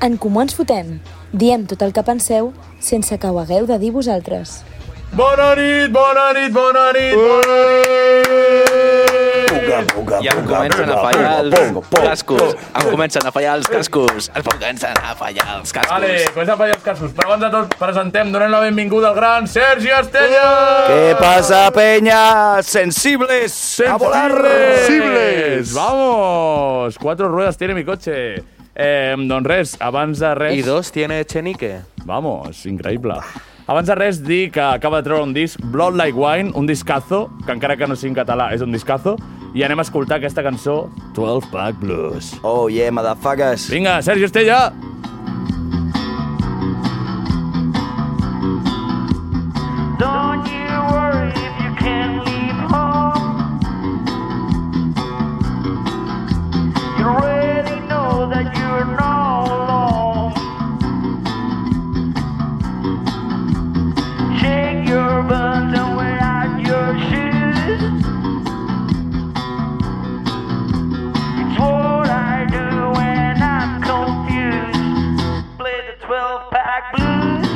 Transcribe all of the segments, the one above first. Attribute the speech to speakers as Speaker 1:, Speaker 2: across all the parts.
Speaker 1: En Comú Ens Fotem. Diem tot el que penseu sense que ho hagueu de dir vosaltres.
Speaker 2: Bona nit, bona nit, bona nit, bona nit!
Speaker 3: Ja em comencen a fallar els cascos. Em comencen a fallar els cascos. Em comencen a fallar els cascos.
Speaker 2: Vale, comença a fallar els casos. Però abans de tot, presentem, donem la benvinguda al gran Sergi Estella!
Speaker 4: ¿Qué pasa, peña? Sensibles, a volar.
Speaker 2: ¡Vamos! Cuatro ruedas tiene mi coche. Eh, doncs res, abans de res...
Speaker 3: I dos tiene Chenique.
Speaker 2: Vamos, increïble. Abans de res, dir que acaba de treure un disc, Blood Like Wine, un discazo, que encara que no sigui en català, és un discazo, i anem a escoltar aquesta cançó, 12 Pack Blues.
Speaker 4: Oh, yeah, motherfuckers.
Speaker 2: Vinga, Sergi Estella!
Speaker 5: Don't you worry if you can't leave home. You already know that you're not alone. Shake your buns and wear out your shoes. It's what I do when I'm confused. Play the 12 pack blues.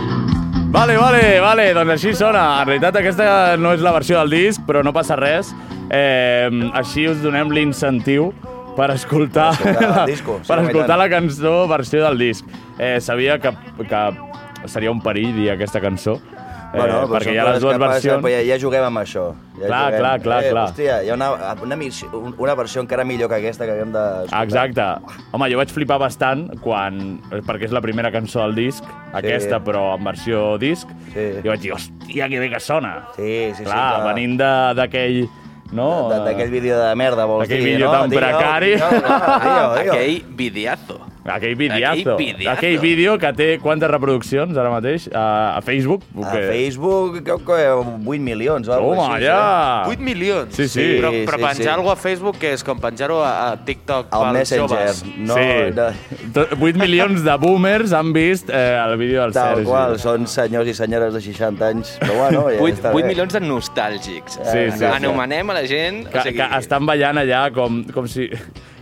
Speaker 2: Vale, vale, vale, doncs així sona. En realitat aquesta no és la versió del disc, però no passa res. Eh, així us donem l'incentiu per escoltar,
Speaker 4: Per escoltar el disco, sí,
Speaker 2: per
Speaker 4: home, i
Speaker 2: escoltar
Speaker 4: tant.
Speaker 2: la cançó versió del disc. Eh, sabia que, que seria un perill dir aquesta cançó, eh,
Speaker 4: però
Speaker 2: perquè
Speaker 4: doncs són
Speaker 2: hi ha les
Speaker 4: coses
Speaker 2: dues
Speaker 4: que passen,
Speaker 2: versions.
Speaker 4: però ja, ja juguem amb això. Ja
Speaker 2: Clar,
Speaker 4: juguem.
Speaker 2: clar, clar,
Speaker 4: eh,
Speaker 2: clar.
Speaker 4: Hòstia, hi ha una, una, missió- un- una versió encara millor que aquesta que haguem de...
Speaker 2: Exacte. Home, jo vaig flipar bastant quan... Perquè és la primera cançó del disc, aquesta, però en versió disc.
Speaker 4: Sí.
Speaker 2: Jo vaig dir, hòstia, que bé que sona.
Speaker 4: Sí, sí, sí,
Speaker 2: Clar,
Speaker 4: clar.
Speaker 2: venint de- d'aquell... No?
Speaker 4: De- D'aquell vídeo de merda, vols dir,
Speaker 2: Aquell vídeo
Speaker 4: no?
Speaker 2: tan precari.
Speaker 4: Digue-ho, digue-ho, digue-ho.
Speaker 3: Aquell videazo.
Speaker 2: Aquell videazo.
Speaker 3: Aquell videazo.
Speaker 2: Aquell vídeo que té quantes reproduccions ara mateix? A, a Facebook?
Speaker 4: A Facebook, crec que 8 milions o
Speaker 2: Home,
Speaker 4: alguna cosa així, eh?
Speaker 2: ja!
Speaker 3: 8 milions.
Speaker 2: Sí, sí.
Speaker 3: Però, però
Speaker 4: Sí, sí, sí.
Speaker 3: penjar alguna a Facebook que és com penjar-ho a, a TikTok
Speaker 4: El
Speaker 3: pels
Speaker 4: Messenger.
Speaker 3: joves.
Speaker 4: No,
Speaker 2: sí.
Speaker 4: no,
Speaker 2: 8 milions de boomers han vist eh, el vídeo del
Speaker 4: tal
Speaker 2: Sergi.
Speaker 4: qual, són senyors i senyores de 60 anys. Però bueno, ja
Speaker 3: 8,
Speaker 4: està
Speaker 3: 8
Speaker 4: bé.
Speaker 3: milions de nostàlgics.
Speaker 2: Sí, sí, sí.
Speaker 3: Anomenem a la gent...
Speaker 2: que, que estan ballant allà com, com si...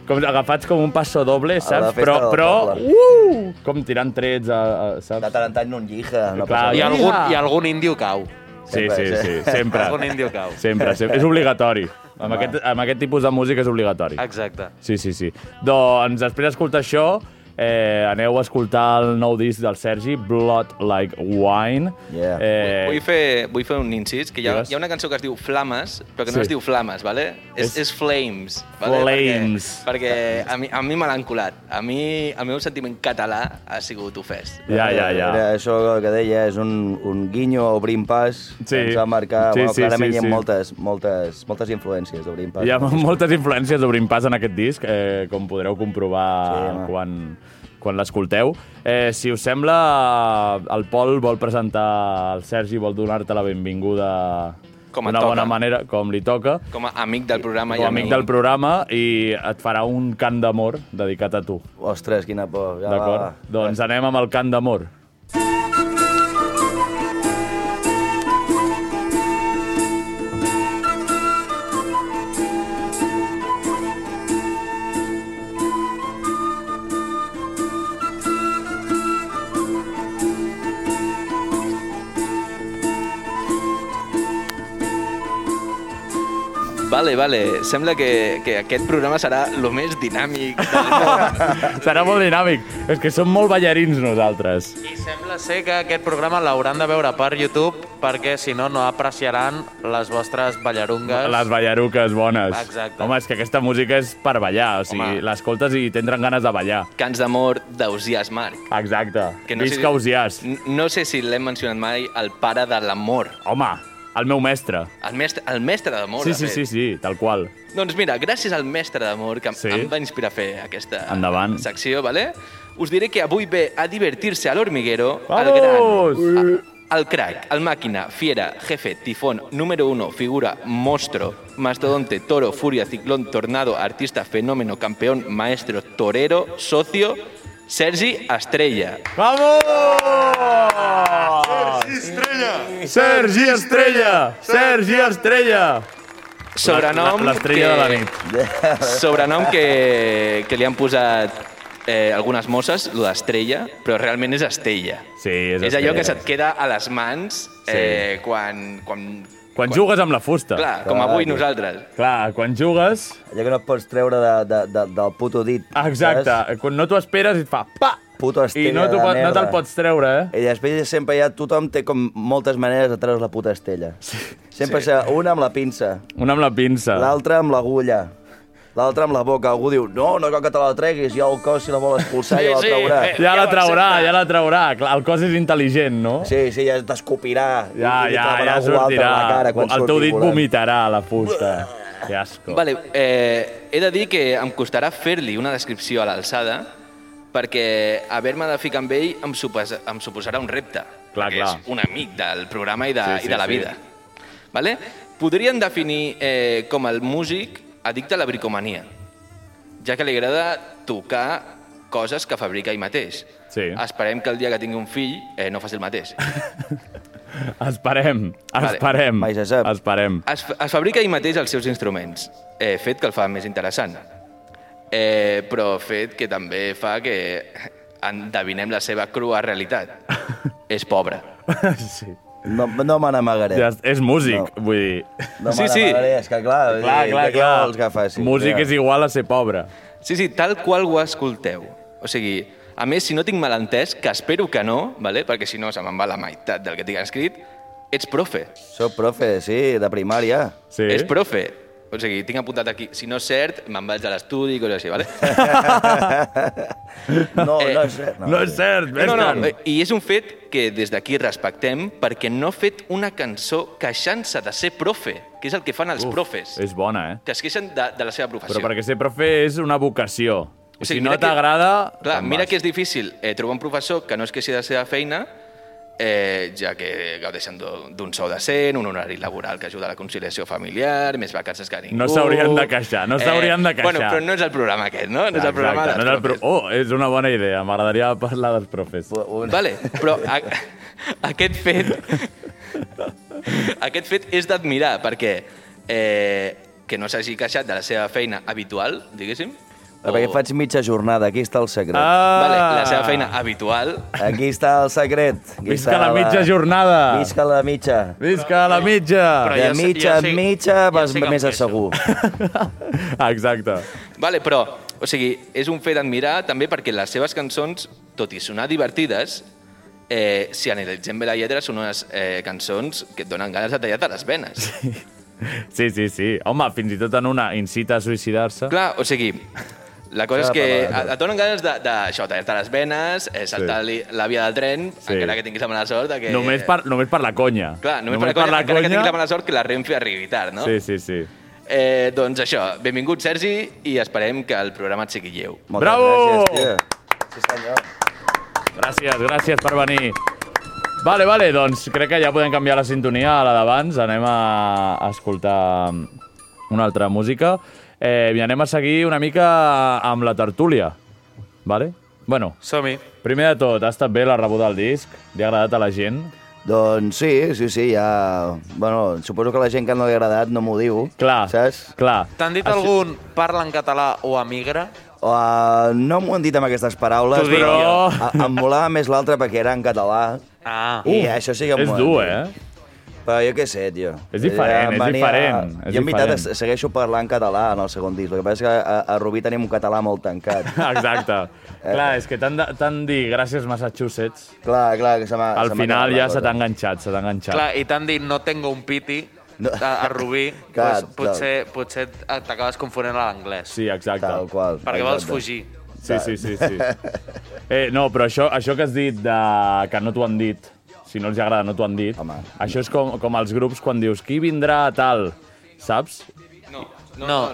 Speaker 2: Com agafats com un passo doble,
Speaker 4: la
Speaker 2: saps?
Speaker 4: festa
Speaker 2: Però,
Speaker 4: del
Speaker 2: però
Speaker 4: poble.
Speaker 2: uh, com tirant trets, a, a,
Speaker 4: De
Speaker 2: saps?
Speaker 4: tant en tant no en llija, no
Speaker 2: Clar,
Speaker 4: passa
Speaker 3: I
Speaker 4: res.
Speaker 3: algun, I algun índio cau.
Speaker 2: Sí, sí,
Speaker 4: Sempre, eh.
Speaker 2: sí,
Speaker 4: sí.
Speaker 2: sempre.
Speaker 3: Algun índio cau.
Speaker 2: Sempre, sempre. És obligatori. Amb aquest, amb aquest tipus de música és obligatori.
Speaker 3: Exacte.
Speaker 2: Sí, sí, sí. Doncs després d'escoltar això, Eh, aneu a escoltar el nou disc del Sergi, Blood Like Wine.
Speaker 4: Yeah.
Speaker 2: Eh,
Speaker 6: Vull fer, vull fer un incís, que hi ha,
Speaker 2: Digues.
Speaker 6: hi ha una cançó que es diu Flames, però que no
Speaker 2: Sí.
Speaker 6: es diu Flames, vale? És,
Speaker 2: És-
Speaker 6: és Flames. Vale?
Speaker 2: Flames.
Speaker 6: Perquè, perquè a mi, a mi me l'han colat. A mi, el meu sentiment català ha sigut ofès.
Speaker 2: ja, ja, ja.
Speaker 4: Era això que deia, és un, un guinyo a Obrim Pas,
Speaker 2: Sí.
Speaker 4: que ens va marcar,
Speaker 2: Sí,
Speaker 4: bueno,
Speaker 2: sí,
Speaker 4: clarament
Speaker 2: sí,
Speaker 4: hi ha
Speaker 2: sí.
Speaker 4: moltes, moltes, moltes influències d'Obrim Pas.
Speaker 2: Hi ha moltes influències d'Obrint Pas en aquest disc, eh, com podreu comprovar
Speaker 4: Sí,
Speaker 2: sí,
Speaker 4: home.
Speaker 2: quan, quan l'escolteu. Eh, si us sembla, el Pol vol presentar el Sergi, vol donar-te la benvinguda
Speaker 6: Com et
Speaker 2: d'una
Speaker 6: toca.
Speaker 2: bona manera, com li toca,
Speaker 6: Com a amic del programa.
Speaker 2: com a amic del programa, i et farà un cant d'amor dedicat a tu,
Speaker 4: Ostres, quina por. Ja va,
Speaker 2: d'acord?
Speaker 4: va.
Speaker 2: Doncs anem amb el cant d'amor.
Speaker 6: Vale, vale. Sembla que, que aquest programa serà el més dinàmic del món.
Speaker 2: Serà molt dinàmic. És que som molt ballarins nosaltres.
Speaker 5: I sembla ser que aquest programa l'hauran de veure per YouTube perquè, si no, no apreciaran les vostres ballarungues.
Speaker 2: Les ballaruques bones.
Speaker 5: Exacte.
Speaker 2: Home, és que aquesta música és per ballar, o sigui,
Speaker 6: Home.
Speaker 2: l'escoltes i tindran ganes de ballar.
Speaker 6: Cants d'amor d'Ausias Marc.
Speaker 2: Exacte.
Speaker 6: Que Mm.
Speaker 2: Visca si... Ausiàs.
Speaker 6: N- No sé si l'hem mencionat mai, el pare de l'amor.
Speaker 2: Home, el meu mestre.
Speaker 6: El mestre, el mestre d'amor,
Speaker 2: sí,
Speaker 6: de
Speaker 2: sí,
Speaker 6: fet.
Speaker 2: sí, sí, tal qual.
Speaker 6: Doncs mira, gràcies al mestre d'amor que
Speaker 2: Sí.
Speaker 6: sí. em va inspirar a fer aquesta
Speaker 2: Endavant.
Speaker 6: secció, vale? us diré que avui ve a divertir-se a l'Hormiguero el
Speaker 2: Vamos!
Speaker 6: gran, a- el crack, el màquina, fiera, jefe, tifón, número uno, figura, monstruo, mastodonte, toro, furia, ciclón, tornado, artista, fenómeno, campeón, maestro, torero, socio, Sergi Estrella.
Speaker 2: Vamos! Sergi Estrella! Sergi Estrella!
Speaker 6: Sobrenom
Speaker 2: La- L'estrella
Speaker 6: que...
Speaker 2: de la nit.
Speaker 6: Sobrenom que, que li han posat eh, algunes mosses, lo d'estrella, però realment és estella.
Speaker 2: Sí, és
Speaker 6: és
Speaker 2: Estella.
Speaker 6: allò que se't queda a les mans eh, quan, quan...
Speaker 2: Quan jugues amb la fusta.
Speaker 6: Clar, com avui nosaltres.
Speaker 2: Clar, quan jugues...
Speaker 4: Allò que no et pots treure de, de, de, del puto dit. saps?
Speaker 2: Exacte, quan no t'ho esperes i et fa... Pa!
Speaker 4: Puto
Speaker 2: I
Speaker 4: Estella
Speaker 2: no, t'ho
Speaker 4: de
Speaker 2: pot- no
Speaker 4: merda.
Speaker 2: te'l pots treure, eh?
Speaker 4: I després sempre hi ha, tothom té com moltes maneres de treure's la puta estella. Sí. Sempre sí. una amb la pinça,
Speaker 2: Una amb la pinça.
Speaker 4: l'altra amb l'agulla, l'altra amb la boca. Algú diu, no, no cal que te la treguis, ja el cos si la vol expulsar
Speaker 6: Sí,
Speaker 4: ja la
Speaker 6: sí,
Speaker 4: traurà.
Speaker 6: eh.
Speaker 2: Ja la
Speaker 6: Ja ho
Speaker 2: traurà,
Speaker 6: accepta.
Speaker 2: ja la traurà. Clar, el cos és intel·ligent, no?
Speaker 4: Sí, sí, ja t'escopirà. i-
Speaker 2: Ja,
Speaker 4: i li
Speaker 2: ja,
Speaker 4: clavarà
Speaker 2: ja
Speaker 4: algú altre
Speaker 2: sortirà.
Speaker 4: a La cara quan
Speaker 2: El
Speaker 4: surti
Speaker 2: teu dit
Speaker 4: volant.
Speaker 2: vomitarà a la fusta. Que asco.
Speaker 6: Vale, eh, he de dir que em costarà fer-li una descripció a l'alçada perquè haver-me de ficar amb ell em, supos em suposarà un repte.
Speaker 2: Clar,
Speaker 6: perquè
Speaker 2: clar.
Speaker 6: És un amic del programa i de,
Speaker 2: Sí, sí,
Speaker 6: i de la
Speaker 2: sí.
Speaker 6: vida. Vale? Podrien definir eh, com el músic addicte a la bricomania, ja que li agrada tocar coses que fabrica ell mateix.
Speaker 2: Sí.
Speaker 6: Esperem que el dia que tingui un fill eh, no faci el mateix.
Speaker 2: Esperem,
Speaker 6: Vale.
Speaker 2: esperem.
Speaker 4: Mai se sap.
Speaker 2: Esperem.
Speaker 6: Es, fa- es fabrica ell mateix els seus instruments, eh, fet que el fa més interessant. Eh, però fet que també fa que endevinem la seva crua realitat. És pobre.
Speaker 2: Sí.
Speaker 4: No, no me n'amagaré.
Speaker 2: Ja, és- és músic,
Speaker 4: No.
Speaker 2: vull dir...
Speaker 4: No
Speaker 6: Sí,
Speaker 4: me
Speaker 6: sí.
Speaker 4: n'amagaré, és que clar, eh,
Speaker 2: Clar, clar,
Speaker 4: què
Speaker 2: clar.
Speaker 4: vols que faci?
Speaker 2: Músic
Speaker 4: Ja.
Speaker 2: és igual a ser pobre.
Speaker 6: Sí, sí, tal qual ho escolteu. O sigui, a més, si no tinc malentès, que espero que no, vale? perquè si no se me'n va la meitat del que tinc escrit, ets profe.
Speaker 4: Soc profe, sí, de primària.
Speaker 2: Sí?
Speaker 6: És profe. O sigui, tinc apuntat aquí. Si no és cert, me'n vaig a l'estudi i coses així, vale?
Speaker 4: No,
Speaker 6: Eh,
Speaker 4: no és cert.
Speaker 2: No és cert,
Speaker 6: No, no, no.
Speaker 4: eh,
Speaker 2: Bertran.
Speaker 6: I és un fet que des d'aquí respectem perquè no ha fet una cançó queixant-se de ser profe, que és el que fan els Uf, profes,
Speaker 2: És bona, eh?
Speaker 6: que es queixen de, de la seva professió.
Speaker 2: Però perquè ser profe és una vocació.
Speaker 6: O
Speaker 2: O
Speaker 6: sigui,
Speaker 2: sigui, si no
Speaker 6: mira que-
Speaker 2: t'agrada... doncs
Speaker 6: Clar,
Speaker 2: te'n
Speaker 6: mira
Speaker 2: vas.
Speaker 6: que és difícil eh, trobar un professor que no es queixi de la seva feina, eh, ja que gaudeixen d'u- d'un sou decent, un horari laboral que ajuda a la conciliació familiar, més vacances que ningú...
Speaker 2: No s'haurien de queixar, no s'haurien de queixar.
Speaker 6: Eh, Bueno, però no és el programa aquest, no? No és el programa
Speaker 2: Exacte,
Speaker 6: dels
Speaker 2: no és el pro...
Speaker 6: profes.
Speaker 2: Oh, és una bona idea. M'agradaria parlar dels profes.
Speaker 6: Vale, però a, aquest fet aquest fet és d'admirar perquè eh, que no s'hagi queixat de la seva feina habitual, diguéssim.
Speaker 4: Ah, Perquè faig mitja jornada, aquí està el secret.
Speaker 2: Ah.
Speaker 6: Vale, la seva feina Ah, habitual.
Speaker 4: Aquí està el secret. Aquí
Speaker 2: Visca
Speaker 4: està
Speaker 2: la mitja jornada.
Speaker 4: Visca la mitja.
Speaker 2: Visca la mitja!
Speaker 5: Però
Speaker 4: De
Speaker 5: jo sé- jo
Speaker 4: mitja en
Speaker 5: sé-
Speaker 4: mitja
Speaker 5: jo
Speaker 4: vas
Speaker 5: sé que em
Speaker 4: més a
Speaker 5: queixo.
Speaker 4: segur.
Speaker 2: Exacte.
Speaker 6: Vale, però, o O sigui, és un fet admirar també perquè les seves cançons, tot i sonar divertides, eh, si analitzem bé la lletra, són unes eh, cançons que et donen ganes de tallar-te les venes.
Speaker 2: Sí, sí, sí. Home, fins i tot en una incita a suïcidar-se.
Speaker 6: Clar, o sigui, la cosa
Speaker 2: S'ha de
Speaker 6: és que
Speaker 2: parlar,
Speaker 6: et et donen ganes de, de això, tallar-te les venes, eh, saltar-li la via del tren,
Speaker 2: Sí.
Speaker 6: encara que tinguis la mala sort de que...
Speaker 2: Només, per, només per la conya.
Speaker 6: Clar, només, només per, la conya, encara que tinguis la mala sort que la Renfe arribi tard, no?
Speaker 2: Sí, sí, sí.
Speaker 6: Eh, doncs això, benvingut Sergi i esperem que el programa et sigui lleu.
Speaker 2: Moltes Bravo! gràcies,
Speaker 4: Sí, senyor.
Speaker 2: Gràcies, gràcies per venir. Vale, vale, doncs crec que ja podem canviar la sintonia a la d'abans. Anem a escoltar una altra música eh, i anem a seguir una mica amb la tertúlia. Vale? Bueno,
Speaker 5: Som-hi.
Speaker 2: primer de tot, ha estat bé la rebuda del disc? Li ha agradat a la gent?
Speaker 4: Doncs sí, sí, sí, ja... Bueno, suposo que la gent que no li ha agradat no m'ho diu.
Speaker 2: Clar,
Speaker 4: saps?
Speaker 2: clar.
Speaker 5: T'han dit algun parla en català o emigra?
Speaker 4: Uh, no m'ho han dit amb aquestes paraules,
Speaker 5: T'ho dic
Speaker 4: però
Speaker 5: jo.
Speaker 4: a- em volava més l'altra perquè era en català.
Speaker 5: Ah.
Speaker 4: I
Speaker 5: Uf,
Speaker 4: això sí que
Speaker 5: és
Speaker 4: m'ho han
Speaker 5: dur,
Speaker 4: dit.
Speaker 5: eh?
Speaker 4: Però jo què sé, tio.
Speaker 2: És diferent,
Speaker 4: Em
Speaker 2: és
Speaker 4: venia-
Speaker 2: diferent, és
Speaker 4: Jo, en veritat,
Speaker 2: diferent.
Speaker 4: es- segueixo parlant català en el segon disc. El que passa és que a, a Rubí tenim un català molt tancat.
Speaker 2: Exacte.
Speaker 4: Eh.
Speaker 2: Clar, és que t'han de- t'han dit gràcies Massachusetts.
Speaker 4: Clar, clar, que se m'ha...
Speaker 2: Al
Speaker 4: Ah, se m'ha
Speaker 2: final
Speaker 4: acabat la
Speaker 2: ja se
Speaker 4: cosa.
Speaker 2: t'ha enganxat, se t'ha enganxat.
Speaker 5: Clar, i t'han dit no tengo un piti
Speaker 4: No.
Speaker 5: a, a Rubí,
Speaker 4: Clar,
Speaker 5: doncs potser, potser t'acabes confonent a l'anglès.
Speaker 2: Sí, exacte.
Speaker 5: Tal
Speaker 4: qual.
Speaker 5: Perquè vols fugir.
Speaker 2: Sí, sí, sí. sí. Eh, no, però això, això que has dit de... que no t'ho han dit, si no els agrada no t'ho han dit, Home, això és com, com els grups quan dius qui vindrà a tal, saps?
Speaker 5: No,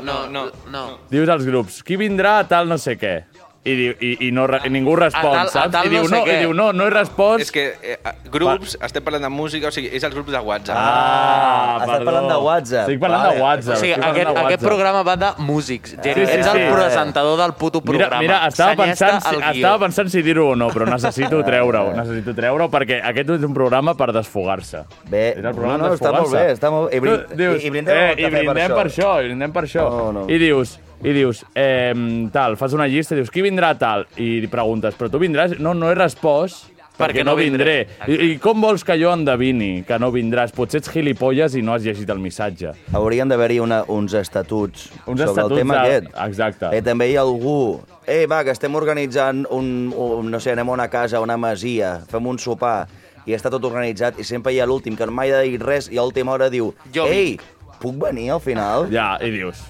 Speaker 5: no, no. no.
Speaker 2: Dius als grups qui vindrà a tal no sé què. I, diu, i, i, no, re- i ningú respon,
Speaker 6: tal- a
Speaker 2: saps?
Speaker 6: tal
Speaker 2: I diu,
Speaker 6: no sé
Speaker 2: no,
Speaker 6: què."
Speaker 2: i diu, no, no he respost.
Speaker 6: És que eh, a- grups, estem parlant de música, o sigui, és els grups de WhatsApp.
Speaker 2: Ah, Estàs perdó. parlant de WhatsApp. Estic parlant de Vale. WhatsApp,
Speaker 5: O sigui,
Speaker 2: estic parlant
Speaker 5: aquest,
Speaker 2: de
Speaker 5: aquest
Speaker 2: WhatsApp.
Speaker 5: programa va de músics. Geri,
Speaker 2: Sí, sí,
Speaker 5: ets
Speaker 2: sí.
Speaker 5: el presentador del puto
Speaker 2: Mira,
Speaker 5: programa.
Speaker 2: mira, estava
Speaker 5: Senyesta
Speaker 2: pensant, si,
Speaker 5: el guió.
Speaker 2: estava pensant si dir-ho o no, però necessito treure-ho, necessito treure-ho, perquè aquest és un programa per desfogar-se.
Speaker 4: Bé,
Speaker 2: és el programa
Speaker 4: no, no, està molt
Speaker 2: desfogar-se.
Speaker 4: bé, està molt- i brin-
Speaker 2: Tu dius,
Speaker 4: i- i brindem amb el
Speaker 2: eh, i
Speaker 4: cafè per
Speaker 2: brindem
Speaker 4: això.
Speaker 2: per això, i brindem per això.
Speaker 4: No, no.
Speaker 2: I dius, i dius eh, tal, fas una llista, dius, qui vindrà tal? I preguntes, però tu vindràs? No, no he respost, perquè,
Speaker 5: Perquè no
Speaker 2: no vindré.
Speaker 5: vindré.
Speaker 2: I, I com vols que jo endevini que no vindràs? Potser ets gilipolles i no has llegit el missatge.
Speaker 4: Haurien d'haver-hi una- uns estatuts
Speaker 2: Uns
Speaker 4: sobre
Speaker 2: estatuts
Speaker 4: el tema
Speaker 2: de-
Speaker 4: aquest.
Speaker 2: Exacte.
Speaker 4: Eh, també hi ha algú... Ei, va, que estem organitzant un, un... No sé, anem a una casa, a una masia, fem un sopar, i està tot organitzat, i sempre hi ha l'últim, que mai ha dit res, i a última hora diu...
Speaker 2: Jo
Speaker 4: Ei, puc venir al final?
Speaker 2: Ja, i dius...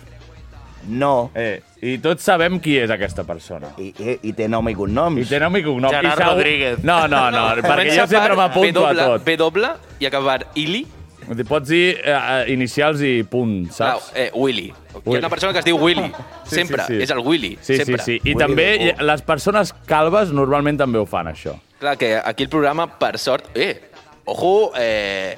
Speaker 4: No.
Speaker 2: Eh, I tots sabem qui és aquesta persona.
Speaker 4: I, i, i té nom i cognoms.
Speaker 2: I té nom i cognoms.
Speaker 4: Gerard
Speaker 2: I segur-
Speaker 4: Rodríguez.
Speaker 2: No, no, no, perquè
Speaker 6: Comença
Speaker 2: jo sempre
Speaker 6: per
Speaker 2: m'apunto a
Speaker 6: W-
Speaker 2: tot.
Speaker 6: B doble i acabar Ili.
Speaker 2: Pots dir eh, inicials i punt,
Speaker 6: Clar,
Speaker 2: saps?
Speaker 6: eh, Willy. Hi ha
Speaker 2: Willy.
Speaker 6: una persona que es diu Willy. sempre. És el Willy.
Speaker 2: Sí,
Speaker 6: sempre.
Speaker 2: sí, sí. I també hi- les persones calves normalment també ho fan, això.
Speaker 6: Clar, que aquí el programa, per sort... Eh, ojo, eh,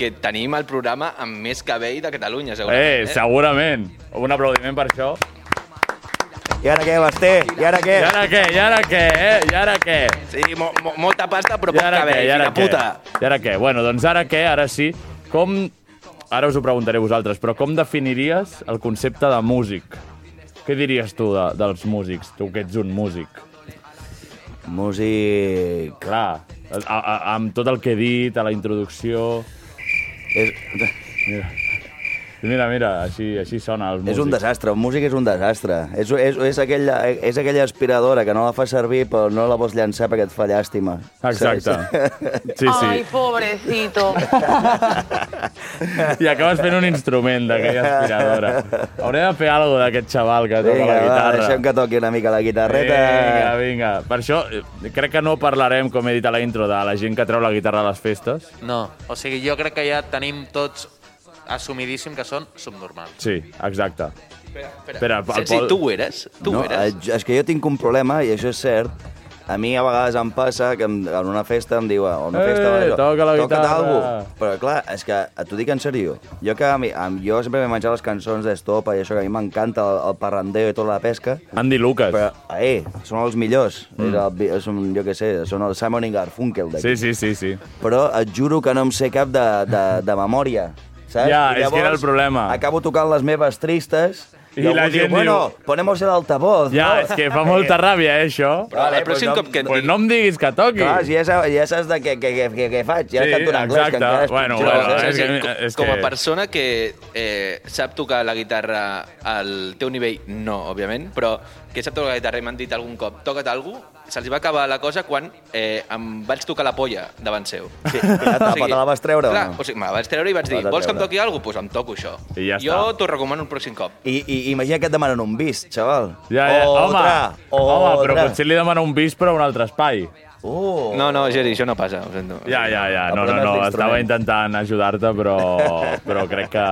Speaker 6: que tenim el programa amb més cabell de Catalunya,
Speaker 2: Eh,
Speaker 6: segurament.
Speaker 2: segurament. Un aplaudiment per això.
Speaker 4: I ara què, Basté? I ara
Speaker 6: Eh.
Speaker 4: què?
Speaker 2: I ara què, i ara què, eh? I ara què?
Speaker 6: Sí, mo, mo, molta pasta, però poc
Speaker 2: ara
Speaker 6: cabell,
Speaker 2: què, i ara
Speaker 6: la puta.
Speaker 2: Què? I ara què? Bueno, doncs ara què, ara sí. Com... Ara us ho preguntaré a vosaltres, però com definiries el concepte de músic? Què diries tu de, dels músics? Tu que ets un músic.
Speaker 4: Músic...
Speaker 2: Clar, a, a, amb tot el que he dit, a la introducció...
Speaker 4: És...
Speaker 2: Mira, mira, mira així, així sona els músics.
Speaker 4: És un desastre, un músic és un desastre. És, és, és, aquella, és aquella aspiradora que no la fa servir però no la vols llançar perquè et fa llàstima.
Speaker 2: Exacte. Sí, sí.
Speaker 7: pobrecito.
Speaker 2: I acabes fent un instrument d'aquella aspiradora. Hauré de fer alguna cosa d'aquest xaval que toca
Speaker 4: Vinga,
Speaker 2: la
Speaker 4: va,
Speaker 2: guitarra.
Speaker 4: deixem que toqui una mica la guitarreta.
Speaker 2: Vinga, vinga. Per això, eh, crec que no parlarem, com he dit a la intro, de la gent que treu la guitarra a les festes.
Speaker 5: No, o sigui, jo crec que ja tenim tots assumidíssim que són subnormals.
Speaker 2: Sí, exacte.
Speaker 5: espera.
Speaker 2: el Pol-
Speaker 5: Tu ho eres?
Speaker 4: eh, És que jo tinc un problema, i això és cert, a mi a vegades em passa que em, en una festa em diu... En una
Speaker 2: Eh,
Speaker 4: festa, va, jo,
Speaker 2: toca la
Speaker 4: toca't
Speaker 2: guitarra."
Speaker 4: algo. Però clar, és que t'ho dic en sèrio. Jo, que, a mi- a, jo sempre m'he menjat les cançons d'Estopa i això, que a mi m'encanta el, el parrandeo i tota la pesca.
Speaker 2: Andy Lucas.
Speaker 4: Però, eh, són els millors. Mm. És el, són, jo què sé, són el Simon i Garfunkel d'aquí.
Speaker 2: Sí, sí, sí, sí.
Speaker 4: Però et juro que no em sé cap de, de, de memòria. Saps?
Speaker 2: Ja,
Speaker 4: I
Speaker 2: és que era el
Speaker 4: llavors
Speaker 2: problema.
Speaker 4: Acabo tocant les meves tristes
Speaker 2: I la
Speaker 4: algú
Speaker 2: gent
Speaker 4: diu, bueno,
Speaker 2: diu-
Speaker 4: ponemos el altavoz.
Speaker 2: Ja,
Speaker 4: no?
Speaker 2: és que fa molta ràbia, eh, això.
Speaker 4: Però Vale, el pues pròxim no- cop que et
Speaker 2: Pues no em diguis que toqui.
Speaker 4: Clar, si ja, saps, ja saps de què, què, què, què, què faig. Ja
Speaker 2: Sí,
Speaker 4: he cantat un anglès,
Speaker 2: exacte.
Speaker 4: que encara és
Speaker 2: Bueno,
Speaker 4: pitjor.
Speaker 2: bueno,
Speaker 4: saps?
Speaker 2: és que-
Speaker 6: Com,
Speaker 2: és
Speaker 6: com a
Speaker 2: que-
Speaker 6: persona eh, que eh, sap tocar la guitarra al teu nivell, no, òbviament, però que sap tocar la guitarra i m'han dit algun cop, toca't algú, se'ls va acabar la cosa quan eh, em vaig tocar la polla davant seu. Sí,
Speaker 4: quina etapa, Ah, te la vas treure o
Speaker 6: clar,
Speaker 4: no?
Speaker 6: o sigui, me la vaig treure i vaig dir,
Speaker 4: Vas a
Speaker 6: vols que em
Speaker 4: treure.
Speaker 6: toqui alguna cosa? Doncs pues em toco això.
Speaker 4: I ja
Speaker 6: jo
Speaker 4: està.
Speaker 6: t'ho recomano el pròxim cop.
Speaker 4: I, i imagina que et demanen un bis, xaval.
Speaker 2: Ja, ja. Home, home, però
Speaker 4: Otra.
Speaker 2: potser li demana un bis però a un altre espai.
Speaker 4: Uh.
Speaker 6: No, no, Geri, això no passa, ho sento.
Speaker 2: Ja, ja, ja. No, no,
Speaker 6: Aprenes
Speaker 2: no.
Speaker 6: l'instrument.
Speaker 2: Estava intentant ajudar-te, però, però crec que...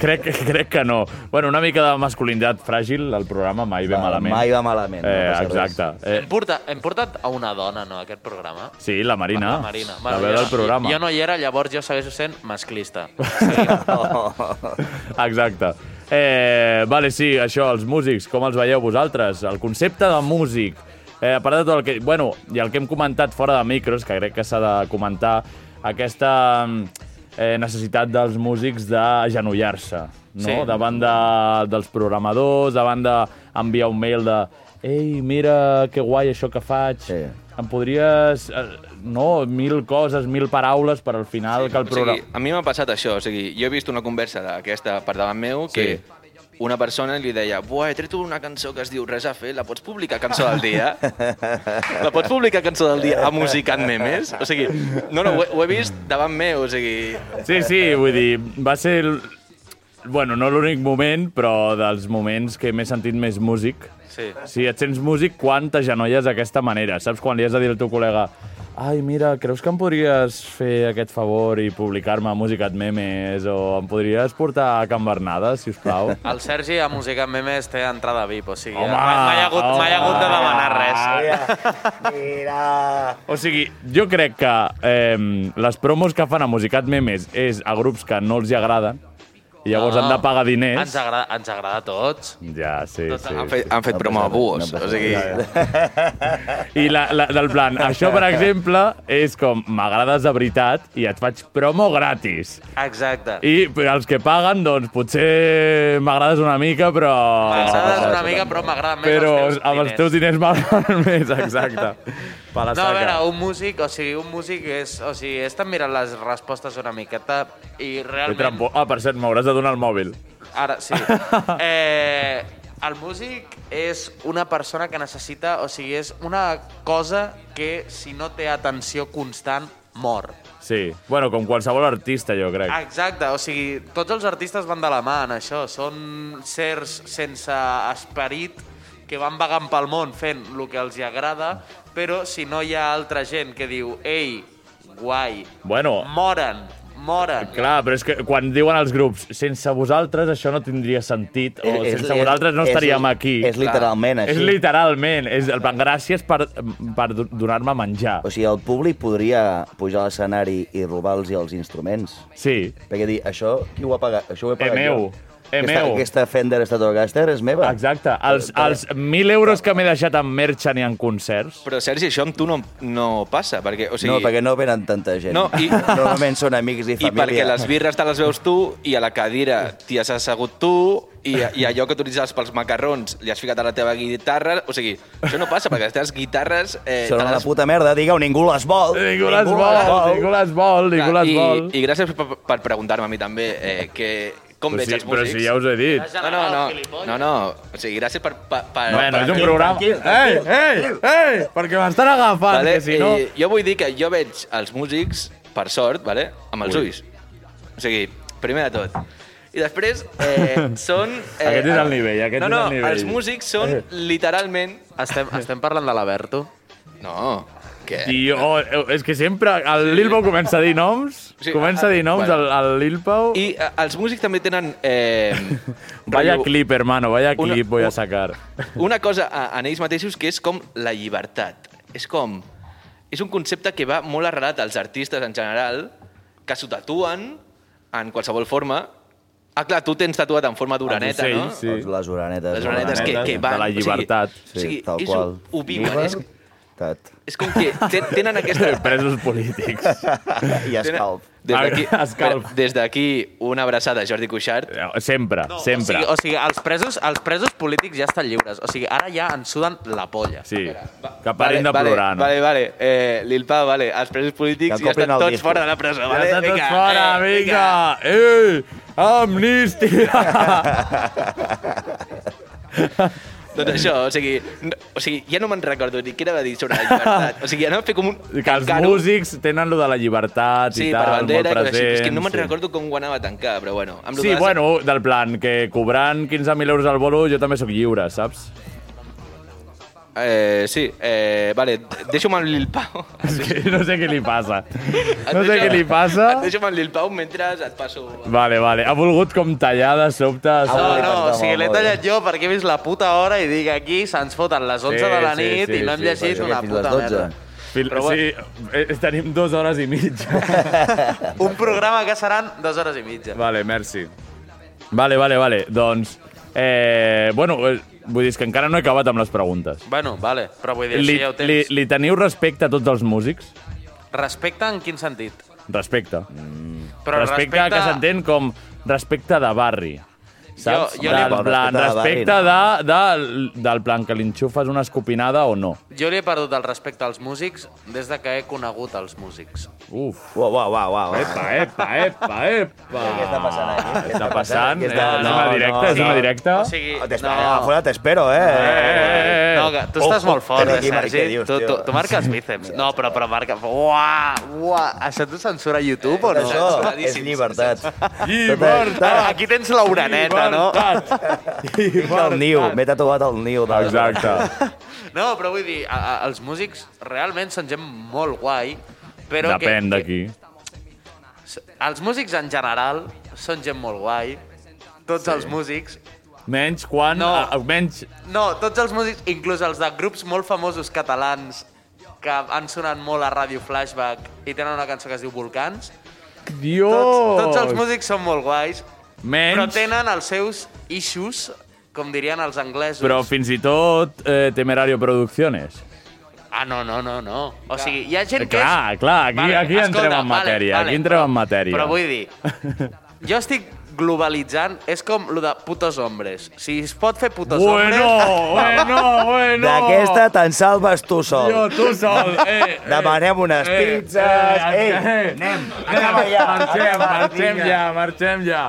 Speaker 2: Crec, que- crec que no. Bueno, una mica de masculinitat fràgil, el programa mai ve malament.
Speaker 4: mai va malament, no
Speaker 2: Eh,
Speaker 4: passa res.
Speaker 2: exacte. Eh,
Speaker 5: Hem, portat, hem portat a una dona, no, a aquest programa?
Speaker 2: sí, la Marina.
Speaker 5: La Marina.
Speaker 2: La veu del programa.
Speaker 5: Jo no hi era, llavors jo segueixo sent masclista.
Speaker 2: Exacte. Eh, vale, sí, això, els músics, com els veieu vosaltres? El concepte de músic, eh, a part de tot el que... Bueno, i el que hem comentat fora de micros, que crec que s'ha de comentar, aquesta mm, eh, necessitat dels músics d'agenollar-se, no?
Speaker 5: Sí.
Speaker 2: Davant de, dels programadors, davant d'enviar un mail de «Ei, mira que guai això que faig». Sí. Em podries... eh, No, mil coses, mil paraules per al final que el
Speaker 6: O
Speaker 2: programa...
Speaker 6: sigui, a mi m'ha passat això, o sigui, jo he vist una conversa d'aquesta per davant meu que sí. una persona li deia «Buah, he tret una cançó que es diu Res a fer, la pots publicar cançó del dia?» La pots publicar cançó del dia a Musicant Memes? O sigui, no, no, ho he, ho he vist davant meu, o sigui...
Speaker 2: Sí, sí, vull dir, va ser... el- Bueno, no l'únic moment, però dels moments que m'he sentit més músic.
Speaker 5: Sí.
Speaker 2: Si et sents músic, quan t'agenolles d'aquesta manera? Saps quan li has de dir al teu col·lega «Ai, mira, creus que em podries fer aquest favor i publicar-me a Musicat Memes o em podries portar a Can Bernada, si us plau?»
Speaker 5: El Sergi a Música amb Memes té entrada VIP, o sigui,
Speaker 2: Home,
Speaker 5: mai, mai, ha hagut, mai ha hagut de demanar res.
Speaker 2: O sigui, jo crec que eh, les promos que fan a Musicat Memes és a grups que no els hi agraden i llavors han
Speaker 5: No.
Speaker 2: de pagar diners.
Speaker 5: Ah. Ens agrada, ens agrada a tots.
Speaker 2: Ja, sí,
Speaker 5: Tot-
Speaker 2: sí.
Speaker 5: han
Speaker 6: fet- han fet promo a búhos, o sigui-
Speaker 2: I la, la, del plan, això, per exemple, és com m'agrades de veritat i et faig promo gratis.
Speaker 5: Exacte.
Speaker 2: I per als que paguen, doncs, potser m'agrades una mica, però...
Speaker 5: M'agrades Ah, una mica, però m'agrada més
Speaker 2: Però
Speaker 5: els teus
Speaker 2: amb els teus diners m'agraden més, exacte. Per la
Speaker 5: No, a
Speaker 2: saca.
Speaker 5: veure, un músic, o sigui, un músic és... O sigui, he estat mirant les respostes una miqueta i
Speaker 2: Que
Speaker 5: realment...
Speaker 2: trampo... Ah, per cert, m'hauràs de donar el mòbil.
Speaker 5: Ara, sí. Eh, el músic és una persona que necessita, o sigui, és una cosa que si no té atenció constant, mor.
Speaker 2: Sí. Bueno, com qualsevol artista, jo crec.
Speaker 5: Exacte, o sigui, tots els artistes van de la mà en això. Són certs sense esperit que van vagant pel món fent el que els hi agrada, però si no hi ha altra gent que diu «Ei, guai,
Speaker 2: Bueno,
Speaker 5: moren, moren».
Speaker 2: Clar, però és que quan diuen els grups sense vosaltres això no tindria sentit o
Speaker 4: És- és-
Speaker 2: sense vosaltres no
Speaker 4: és-
Speaker 2: estaríem aquí.
Speaker 4: és literalment
Speaker 2: És
Speaker 4: així.
Speaker 2: literalment. És, en plan, gràcies per, per do- donar-me menjar.
Speaker 4: O sigui, el públic podria pujar a l'escenari i robar-los els instruments.
Speaker 2: Sí.
Speaker 4: Perquè dir, això, qui ho ha pagat? Això ho he pagat
Speaker 2: meu.
Speaker 4: jo.
Speaker 2: Eh,
Speaker 4: Aquesta,
Speaker 2: meu.
Speaker 4: aquesta Fender Stratocaster és meva.
Speaker 2: Exacte. Els, els 1.000 euros que m'he deixat en merchant i en concerts...
Speaker 6: Però, Sergi, això amb tu no, no passa, perquè... O sigui,
Speaker 4: No, perquè no venen tanta gent.
Speaker 6: No, i-
Speaker 4: Normalment són amics i
Speaker 6: I
Speaker 4: família.
Speaker 6: perquè les birres te les veus tu i a la cadira t'hi has assegut tu i, i allò que utilitzaves pels macarrons li has ficat a la teva guitarra. O sigui, això no passa perquè les teves guitarres... Eh,
Speaker 4: Són
Speaker 6: te
Speaker 4: una
Speaker 6: les-
Speaker 4: puta merda, digueu, ningú les vol.
Speaker 2: Ningú les vol, ningú les vol, ningú
Speaker 6: Clar,
Speaker 2: les
Speaker 6: i,
Speaker 2: vol.
Speaker 6: I gràcies per, per preguntar-me a mi també eh, que, com
Speaker 2: Però
Speaker 6: veig
Speaker 2: sí,
Speaker 6: els
Speaker 2: però
Speaker 6: músics.
Speaker 2: si ja us he dit.
Speaker 6: No, no, no, no, no. O sigui, gràcies per... per, per
Speaker 2: Bueno,
Speaker 6: per
Speaker 2: és un programa... Ei, ei, ei! Perquè m'estan agafant,
Speaker 6: Vale?
Speaker 2: que si no...
Speaker 6: eh, jo vull dir que jo veig els músics, per sort, vale? amb els
Speaker 2: Ui.
Speaker 6: ulls. O sigui, primer de tot. I després eh, són... Eh,
Speaker 2: Aquest és el nivell, aquest
Speaker 6: no,
Speaker 2: és
Speaker 6: no,
Speaker 2: el nivell.
Speaker 6: els músics són literalment...
Speaker 5: Estem, estem parlant de l'Aberto?
Speaker 6: No, què?
Speaker 2: Tio, oh, és que sempre el Lilbo comença a dir noms,
Speaker 6: Sí, ah,
Speaker 2: comença a dir noms,
Speaker 6: bueno.
Speaker 2: el, el Lilpau...
Speaker 6: I eh, els músics també tenen... Eh,
Speaker 2: Vaya
Speaker 6: rotllo-
Speaker 2: clip, hermano, vaya
Speaker 6: Una-
Speaker 2: clip voy a
Speaker 6: una-
Speaker 2: sacar.
Speaker 6: una cosa a- en ells mateixos que és com la llibertat. És com... És un concepte que va molt arrelat als artistes en general, que s'ho tatuen en qualsevol forma. Ah, clar, tu tens tatuat en forma d'oraneta,
Speaker 5: Ah,
Speaker 6: no?
Speaker 2: ocells, sí.
Speaker 4: Doncs les oranetes.
Speaker 6: Les oranetes que, que van...
Speaker 2: de la llibertat.
Speaker 6: O sigui,
Speaker 4: Sí, tal
Speaker 6: és,
Speaker 4: qual.
Speaker 6: ho- Ho viuen, eh? és,
Speaker 4: Llibertat.
Speaker 6: és com que te- tenen aquesta...
Speaker 2: Presos polítics.
Speaker 4: I escalf.
Speaker 6: Des d'aquí-
Speaker 2: Escalf.
Speaker 6: espera, Des d'aquí, una abraçada a Jordi Cuixart.
Speaker 2: Eh, Sempre, no,
Speaker 5: O
Speaker 2: sempre.
Speaker 5: sigui, o sigui els, presos, els presos polítics ja estan lliures. O sigui, ara ja ens suden la polla.
Speaker 2: Sí, que parin de
Speaker 6: vale,
Speaker 2: plorar, no?
Speaker 6: Vale, vale. Eh, Lil Pau, vale. Els presos polítics
Speaker 4: Que
Speaker 6: ja estan
Speaker 4: copin el
Speaker 6: tots
Speaker 4: disco.
Speaker 6: fora de la presó,
Speaker 2: Ja
Speaker 6: vale?
Speaker 2: estan tots
Speaker 6: Vinga,
Speaker 2: fora,
Speaker 6: eh,
Speaker 2: vinga! Eh, amnistia!
Speaker 6: Doncs això, o sigui, no, o sigui ja no me'n recordo ni què anava a dir sobre la llibertat. O sigui, anava a fer com un...
Speaker 2: Que els
Speaker 6: tancar-ho.
Speaker 2: músics tenen lo de la llibertat
Speaker 6: Sí,
Speaker 2: i
Speaker 6: per
Speaker 2: tal,
Speaker 6: bandera,
Speaker 2: molt
Speaker 6: coses
Speaker 2: present.
Speaker 6: així. Però és que no me'n recordo com ho anava a tancar, però bueno. Amb lo
Speaker 2: Sí,
Speaker 6: de les-
Speaker 2: bueno, del plan, que cobrant 15.000 euros al bolo jo també sóc lliure, saps?
Speaker 6: Eh, sí, eh, vale, deixa'm amb Lil Pau.
Speaker 2: És que no sé què li passa. No sé què li passa.
Speaker 6: Et deixa'm amb Lil Pau mentre et passo...
Speaker 2: Vale, vale. Ha volgut com tallar de sobte.
Speaker 6: Ah,
Speaker 5: No, no, o sigui, l'he tallat jo perquè he vist la puta hora i dic aquí se'ns foten les 11 de la nit i no hem llegit una puta merda.
Speaker 2: Fil...
Speaker 5: Però bueno.
Speaker 2: Sí, eh, tenim dues hores i mitja.
Speaker 5: Un programa que seran dues hores i mitja.
Speaker 2: Vale, merci. Vale, vale, vale. Doncs, eh, bueno, eh, vull dir és que encara no he acabat amb les preguntes.
Speaker 5: Bueno, vale, però vull dir,
Speaker 2: Li,
Speaker 5: li, ja ho tens.
Speaker 2: li, li teniu respecte a tots els músics?
Speaker 5: Respecte en quin sentit?
Speaker 2: Respecte.
Speaker 5: Però
Speaker 2: respecte,
Speaker 5: respecte-
Speaker 2: que s'entén com respecte de barri. Saps?
Speaker 5: Jo- jo li-
Speaker 2: del plan,
Speaker 5: Respecte de barri,
Speaker 2: respecte de, de, del plan que li enxufes una escopinada o no.
Speaker 5: Jo li he perdut el respecte als músics des de que he conegut els músics.
Speaker 2: Uf.
Speaker 4: Uau, uau, uau, uau. eh?
Speaker 2: Epa, epa, epa, epa. Què està passant aquí? Què està passant?
Speaker 4: Ah. Què
Speaker 2: Eh,
Speaker 4: està
Speaker 2: és
Speaker 4: passant?
Speaker 2: una
Speaker 4: No,
Speaker 2: directa,
Speaker 4: no,
Speaker 2: és una
Speaker 4: no.
Speaker 2: directa.
Speaker 5: O sigui,
Speaker 4: Ah,
Speaker 5: no,
Speaker 4: fora t'espero, eh?
Speaker 2: eh, eh.
Speaker 5: no, que tu estàs
Speaker 4: Oh, oh,
Speaker 5: molt fort,
Speaker 4: però
Speaker 5: eh,
Speaker 4: aquí, Marc,
Speaker 5: Sergi?
Speaker 4: què dius,
Speaker 5: tu, tu,
Speaker 4: tio?
Speaker 5: tu marques bíceps. No, però, però marca... Uah, uah. Això t'ho censura YouTube o no?
Speaker 4: Això és llibertat. Tota-
Speaker 5: Ara, aquí tens l'oraneta, no?
Speaker 4: Tinc el niu, m'he tatuat el niu. de-
Speaker 2: Exacte.
Speaker 5: No, però vull dir, a, a, els músics realment són gent molt guai, però
Speaker 2: Depèn
Speaker 5: que,
Speaker 2: d'aquí.
Speaker 5: que, els músics en general són gent molt guai, tots sí. els músics,
Speaker 2: Menys quan...
Speaker 5: No.
Speaker 2: a- a- menys...
Speaker 5: no, tots els músics, inclús els de grups molt famosos catalans que han sonat molt a Ràdio Flashback i tenen una cançó que es diu Volcans,
Speaker 2: Dios!
Speaker 5: tots, tots els músics són molt guais,
Speaker 2: Menys...
Speaker 5: però tenen els seus issues, com dirien els anglesos.
Speaker 2: Però fins i tot eh, Temerario Producciones.
Speaker 5: Ah, no, no, no, no. O sigui, hi ha gent
Speaker 2: Eh,
Speaker 5: que és...
Speaker 2: clar, clar, aquí,
Speaker 5: Vale,
Speaker 2: aquí
Speaker 5: escolta,
Speaker 2: entrem en
Speaker 5: vale,
Speaker 2: matèria.
Speaker 5: vale,
Speaker 2: aquí entrem
Speaker 5: però-
Speaker 2: en matèria.
Speaker 5: Però vull dir, jo estic globalitzant, és com lo de putos hombres. Si es pot fer putos
Speaker 2: Bueno,
Speaker 5: hombres...
Speaker 2: bueno, bueno!
Speaker 4: D'aquesta te'n salves tu sol.
Speaker 2: Jo, tu sol, eh, eh.
Speaker 4: Demanem unes pizzas. Ei, anem, anem allà.
Speaker 2: Marxem, marxem ja, marxem ja.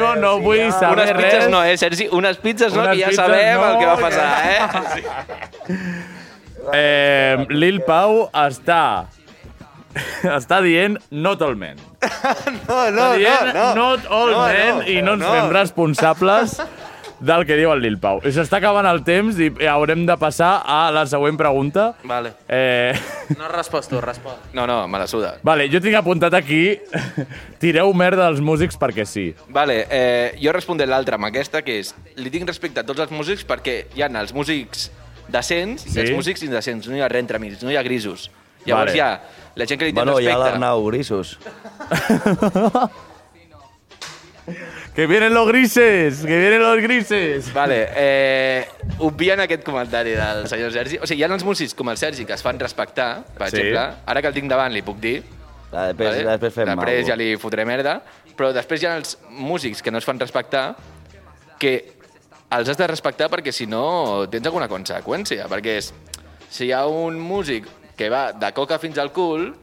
Speaker 2: jo no
Speaker 4: Eh, sí,
Speaker 2: vull
Speaker 4: ja.
Speaker 2: saber
Speaker 6: Unes pizzas
Speaker 2: res.
Speaker 6: no, eh, Sergi? Unes pizzas no,
Speaker 2: Unes
Speaker 6: que ja
Speaker 2: pizzas
Speaker 6: sabem
Speaker 2: no,
Speaker 6: el que va
Speaker 2: que-
Speaker 6: passar, eh? Sí.
Speaker 2: Eh, Lil Pau està... està dient not all men.
Speaker 5: No, no,
Speaker 2: Està dient
Speaker 5: no, no.
Speaker 2: not all
Speaker 5: No,
Speaker 2: men
Speaker 5: no,
Speaker 2: i no ens
Speaker 5: no.
Speaker 2: fem responsables del que diu el Lil Pau. I S'està acabant el temps i haurem de passar a la següent pregunta.
Speaker 5: Vale.
Speaker 2: Eh,
Speaker 5: No respons tu, respon.
Speaker 6: No, no, me la suda.
Speaker 2: vale, jo tinc apuntat aquí tireu merda als músics perquè sí.
Speaker 6: Vale, eh, jo respondré l'altra amb aquesta, que és... Li tinc respecte a tots els músics perquè hi ha els músics decents
Speaker 2: Sí?
Speaker 6: i els músics indecents. No hi ha res entre mig, no hi ha grisos. Llavors
Speaker 2: Vale.
Speaker 6: hi ha la gent que li té
Speaker 4: Bueno, hi ha
Speaker 6: respecte.
Speaker 4: l'Arnau Grisos.
Speaker 2: Que vienen los grises, que vienen los grises.
Speaker 6: Vale, eh, obvien aquest comentari del senyor Sergi. O sigui, hi ha els músics com el Sergi que es fan respectar, per
Speaker 2: Sí.
Speaker 6: sí. exemple. Ara que el tinc davant li puc dir.
Speaker 4: Ah, Després, després fem
Speaker 6: després
Speaker 4: mal.
Speaker 6: ja li fotré merda. Però després hi ha els músics que no es fan respectar que els has de respectar perquè si no tens alguna conseqüència. Perquè és, si hi ha un músic que va de coca fins al cul,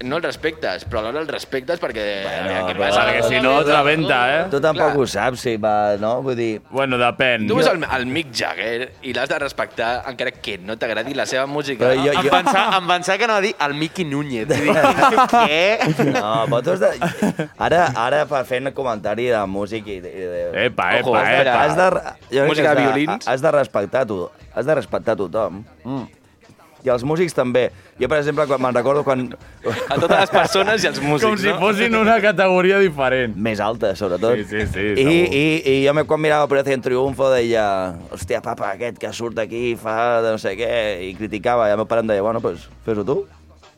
Speaker 6: no el respectes, però alhora el respectes perquè... Bueno, què passa?
Speaker 2: Perquè si no, et rebenta, eh?
Speaker 4: Tu tampoc
Speaker 6: Clar.
Speaker 4: ho saps, si va, no? Vull dir,
Speaker 2: Bueno, depèn.
Speaker 6: Tu veus el, el Mick Jagger i l'has de respectar encara que no t'agradi la seva música.
Speaker 4: Però jo-
Speaker 5: Em pensava, em pensava que anava a dir el Miqui Núñez. I dic, Què?
Speaker 4: No, però tu has de... Ara, ara fa fent comentari de músic i... De, i de...
Speaker 2: Epa, epa,
Speaker 6: Ojo, espera.
Speaker 2: epa.
Speaker 4: Has de... jo crec
Speaker 6: Música
Speaker 4: que has
Speaker 6: de violins.
Speaker 4: Has de respectar tu. Has de respectar tothom. Mm. I els músics també. Jo, per exemple, quan me'n recordo quan...
Speaker 6: A totes les persones i als músics,
Speaker 2: Com si
Speaker 6: no?
Speaker 2: fossin una categoria diferent.
Speaker 4: Més alta, sobretot.
Speaker 2: Sí, sí, sí,
Speaker 4: I,
Speaker 2: segur.
Speaker 4: i, i jo me- quan mirava Operació en Triunfo deia hòstia, papa, aquest que surt aquí fa de no sé què, i criticava. I el meu pare em deia, bueno, pues, fes-ho tu.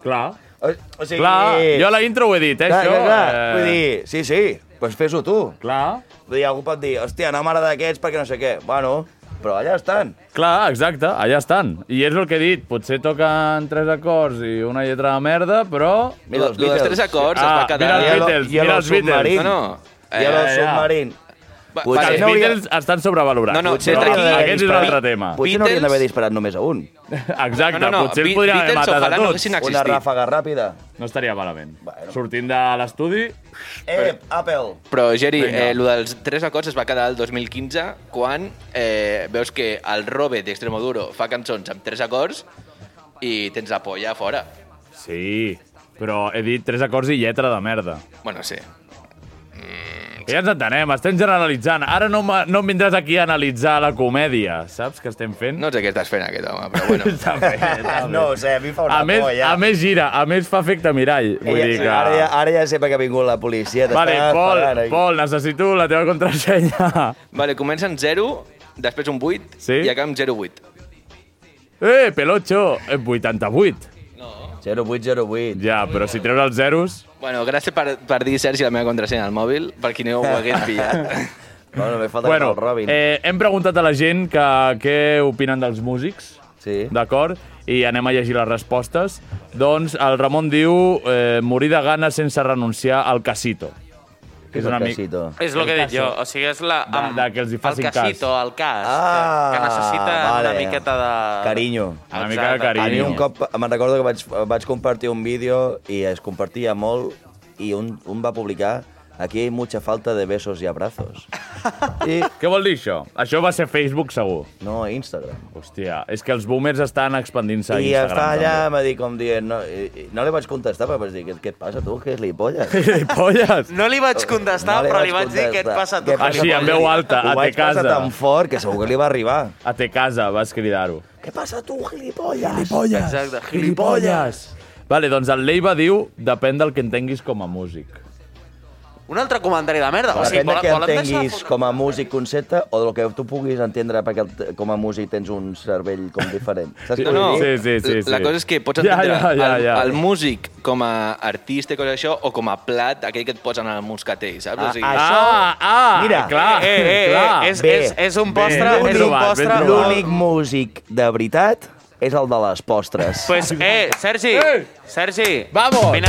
Speaker 2: Clar.
Speaker 4: O, o sigui...
Speaker 2: Clar, jo a la intro ho he dit, eh,
Speaker 4: Clar,
Speaker 2: això.
Speaker 4: clar, clar.
Speaker 2: eh,
Speaker 4: Vull dir, sí, sí, pues fes-ho tu.
Speaker 2: Clar.
Speaker 4: Vull dir, algú pot dir, hòstia, no m'agrada aquests perquè no sé què. Bueno, però allà estan.
Speaker 2: Clar, exacte, allà estan. I és el que he dit, potser toquen tres acords i una lletra de merda, però...
Speaker 4: Mira els
Speaker 6: Lo dels
Speaker 4: Beatles.
Speaker 6: tres acords
Speaker 2: Ah,
Speaker 6: es va quedar...
Speaker 2: mira els
Speaker 4: I el-
Speaker 2: Beatles,
Speaker 4: i el
Speaker 2: mira els Beatles.
Speaker 4: submarí.
Speaker 6: No, no.
Speaker 4: I
Speaker 6: Eh,
Speaker 4: el
Speaker 2: ja.
Speaker 4: submarín.
Speaker 6: Va,
Speaker 4: Potser
Speaker 2: Els
Speaker 4: no hauria-
Speaker 2: Beatles estan sobrevalorats.
Speaker 6: No, no,
Speaker 2: Potser
Speaker 6: des d'aquí-
Speaker 2: Aquest és un altre tema.
Speaker 4: Potser no haurien d'haver disparat només a un.
Speaker 2: Exacte,
Speaker 6: No, no, no,
Speaker 2: potser
Speaker 6: Be-
Speaker 2: els podrien haver
Speaker 6: Beatles
Speaker 2: matat
Speaker 6: ojalà
Speaker 2: a
Speaker 6: no
Speaker 2: tots.
Speaker 6: haguessin existit.
Speaker 4: Una ràfaga ràpida.
Speaker 2: No estaria malament. Sortint de l'estudi...
Speaker 4: Eh, Apple!
Speaker 6: Però, Geri,
Speaker 2: Vinga.
Speaker 6: eh, el dels tres acords es va quedar el 2015 quan eh, veus que el Robe d'Extremoduro fa cançons amb tres acords i tens la polla a fora.
Speaker 2: Sí, però he dit tres acords i lletra de merda.
Speaker 6: Bueno, sí.
Speaker 2: Que ja ens entenem, estem generalitzant. Ara no, m'ha- no em vindràs aquí a analitzar la comèdia. Saps què estem fent?
Speaker 6: No sé què estàs fent aquest home, però bueno.
Speaker 2: Està bé, està bé.
Speaker 4: Ah, No ho sé, a mi em fa una
Speaker 2: Eh, A més,
Speaker 4: por, ja.
Speaker 2: a més gira, a més fa efecte mirall. Vull
Speaker 4: Ella,
Speaker 2: dir que...
Speaker 4: ara, ja, ara ja sé per què ha vingut la policia. t'està
Speaker 2: Vale, Pol,
Speaker 4: esperant aquí.
Speaker 2: Pol, necessito la teva contrasenya.
Speaker 6: Vale, comença en 0, després un 8
Speaker 2: Sí?
Speaker 6: i acaba en 0-8.
Speaker 2: Eh, Pelotxo, eh, 88.
Speaker 4: 0808.
Speaker 2: Ja, però si treus els zeros...
Speaker 6: Bueno, gràcies per, per dir, Sergi, la meva contrasenya al mòbil, per qui no ho hagués pillat.
Speaker 4: Bueno, me falta
Speaker 2: Bueno,
Speaker 4: bueno, el Robin. Eh...
Speaker 2: eh, hem preguntat a la gent que què opinen dels músics,
Speaker 4: Sí.
Speaker 2: d'acord? I anem a llegir les respostes. Doncs el Ramon diu eh, morir de gana sense renunciar al casito.
Speaker 4: Què és
Speaker 2: una
Speaker 4: el
Speaker 2: mica-
Speaker 4: casito?
Speaker 5: És el que he dit jo, o sigui, és la...
Speaker 2: De- de que els hi facin
Speaker 5: el casito,
Speaker 2: cas.
Speaker 5: el cas,
Speaker 4: Ah,
Speaker 5: que, que necessita
Speaker 4: vale.
Speaker 5: una miqueta de...
Speaker 4: Carinyo.
Speaker 2: Una mica de
Speaker 4: A mi
Speaker 2: carinyo.
Speaker 4: un cop, me'n recordo que vaig, vaig compartir un vídeo i es compartia molt i un, un va publicar Aquí hay mucha falta de besos y abrazos. I,
Speaker 2: Què vol dir això? Això va ser Facebook, segur.
Speaker 4: no, Instagram.
Speaker 2: Hòstia, és que els boomers estan expandint-se a
Speaker 4: I
Speaker 2: Instagram.
Speaker 4: està allà, m'ha dit com dient... No, i, i no li vaig contestar, perquè vaig dir, què, què et passa tu, que és lipolles?
Speaker 2: també. I polles!
Speaker 5: No li vaig contestar,
Speaker 4: No li
Speaker 5: però
Speaker 4: vaig
Speaker 5: li vaig dir
Speaker 4: contestar.
Speaker 5: què et passa a tu.
Speaker 4: Què passa,
Speaker 2: Així, en veu alta, a
Speaker 4: Ho
Speaker 2: te
Speaker 4: vaig
Speaker 2: casa.
Speaker 4: passar tan fort que segur que li va arribar.
Speaker 2: A te casa, vas cridar-ho.
Speaker 4: Què passa tu, gilipolles? Gilipolles.
Speaker 5: Exacte,
Speaker 2: Gilipolles! Vale, doncs el Leiva diu depèn del que entenguis com a músic.
Speaker 5: Un altre comentari de merda. O sigui,
Speaker 4: Depèn de
Speaker 5: volen,
Speaker 4: què
Speaker 5: volen deixar...
Speaker 4: entenguis com a músic concepte o del que tu puguis entendre perquè el te- com a músic tens un cervell com diferent. Saps
Speaker 6: No,
Speaker 4: què
Speaker 6: no.
Speaker 4: vull
Speaker 2: Sí,
Speaker 4: dir?
Speaker 2: sí, sí, sí.
Speaker 6: La cosa és que pots
Speaker 2: Ja,
Speaker 6: entendre
Speaker 2: ja, ja,
Speaker 6: el,
Speaker 2: ja.
Speaker 6: el músic com a artista i coses això, o com a plat, aquell que et posen al moscatell, saps? O sigui,
Speaker 4: Ah,
Speaker 2: Ah, ah,
Speaker 4: Mira.
Speaker 2: clar,
Speaker 5: Eh, eh, eh,
Speaker 2: clar.
Speaker 5: és,
Speaker 4: Bé.
Speaker 5: és, és un postre,
Speaker 2: Bé,
Speaker 5: és un
Speaker 2: trobat, ben
Speaker 5: postre...
Speaker 2: trobat.
Speaker 5: molt-
Speaker 4: L'únic músic de veritat és el de les postres.
Speaker 5: Pues, eh, Sergi,
Speaker 2: Eh!
Speaker 5: Sergi,
Speaker 2: Vamos!
Speaker 5: vine, vine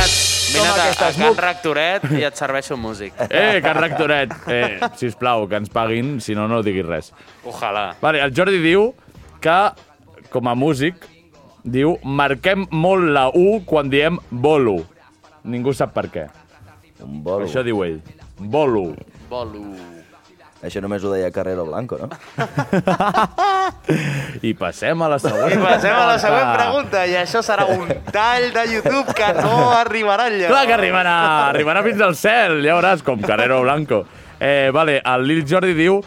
Speaker 4: Toma
Speaker 5: a, a
Speaker 4: aquestes
Speaker 5: Can
Speaker 4: muc.
Speaker 5: Rectoret i et serveixo un músic.
Speaker 2: Eh, Can Rectoret, eh, sisplau, que ens paguin, si no, no diguis res.
Speaker 5: Ojalà.
Speaker 2: Vale, el Jordi diu que, com a músic, diu marquem molt la U quan diem bolo. Ningú sap per què.
Speaker 4: Un bolo.
Speaker 2: Això
Speaker 4: Això,
Speaker 2: diu ell. Bolo.
Speaker 5: Bolo.
Speaker 4: Això només ho deia Carrero Blanco, no?
Speaker 2: I passem a la següent.
Speaker 5: I passem a la següent pregunta, i això serà un tall de YouTube que no arribarà enlloc.
Speaker 2: Clar que arribarà, arribarà fins al cel, ja veuràs, com Carrero Blanco. Eh, vale, el Lil Jordi diu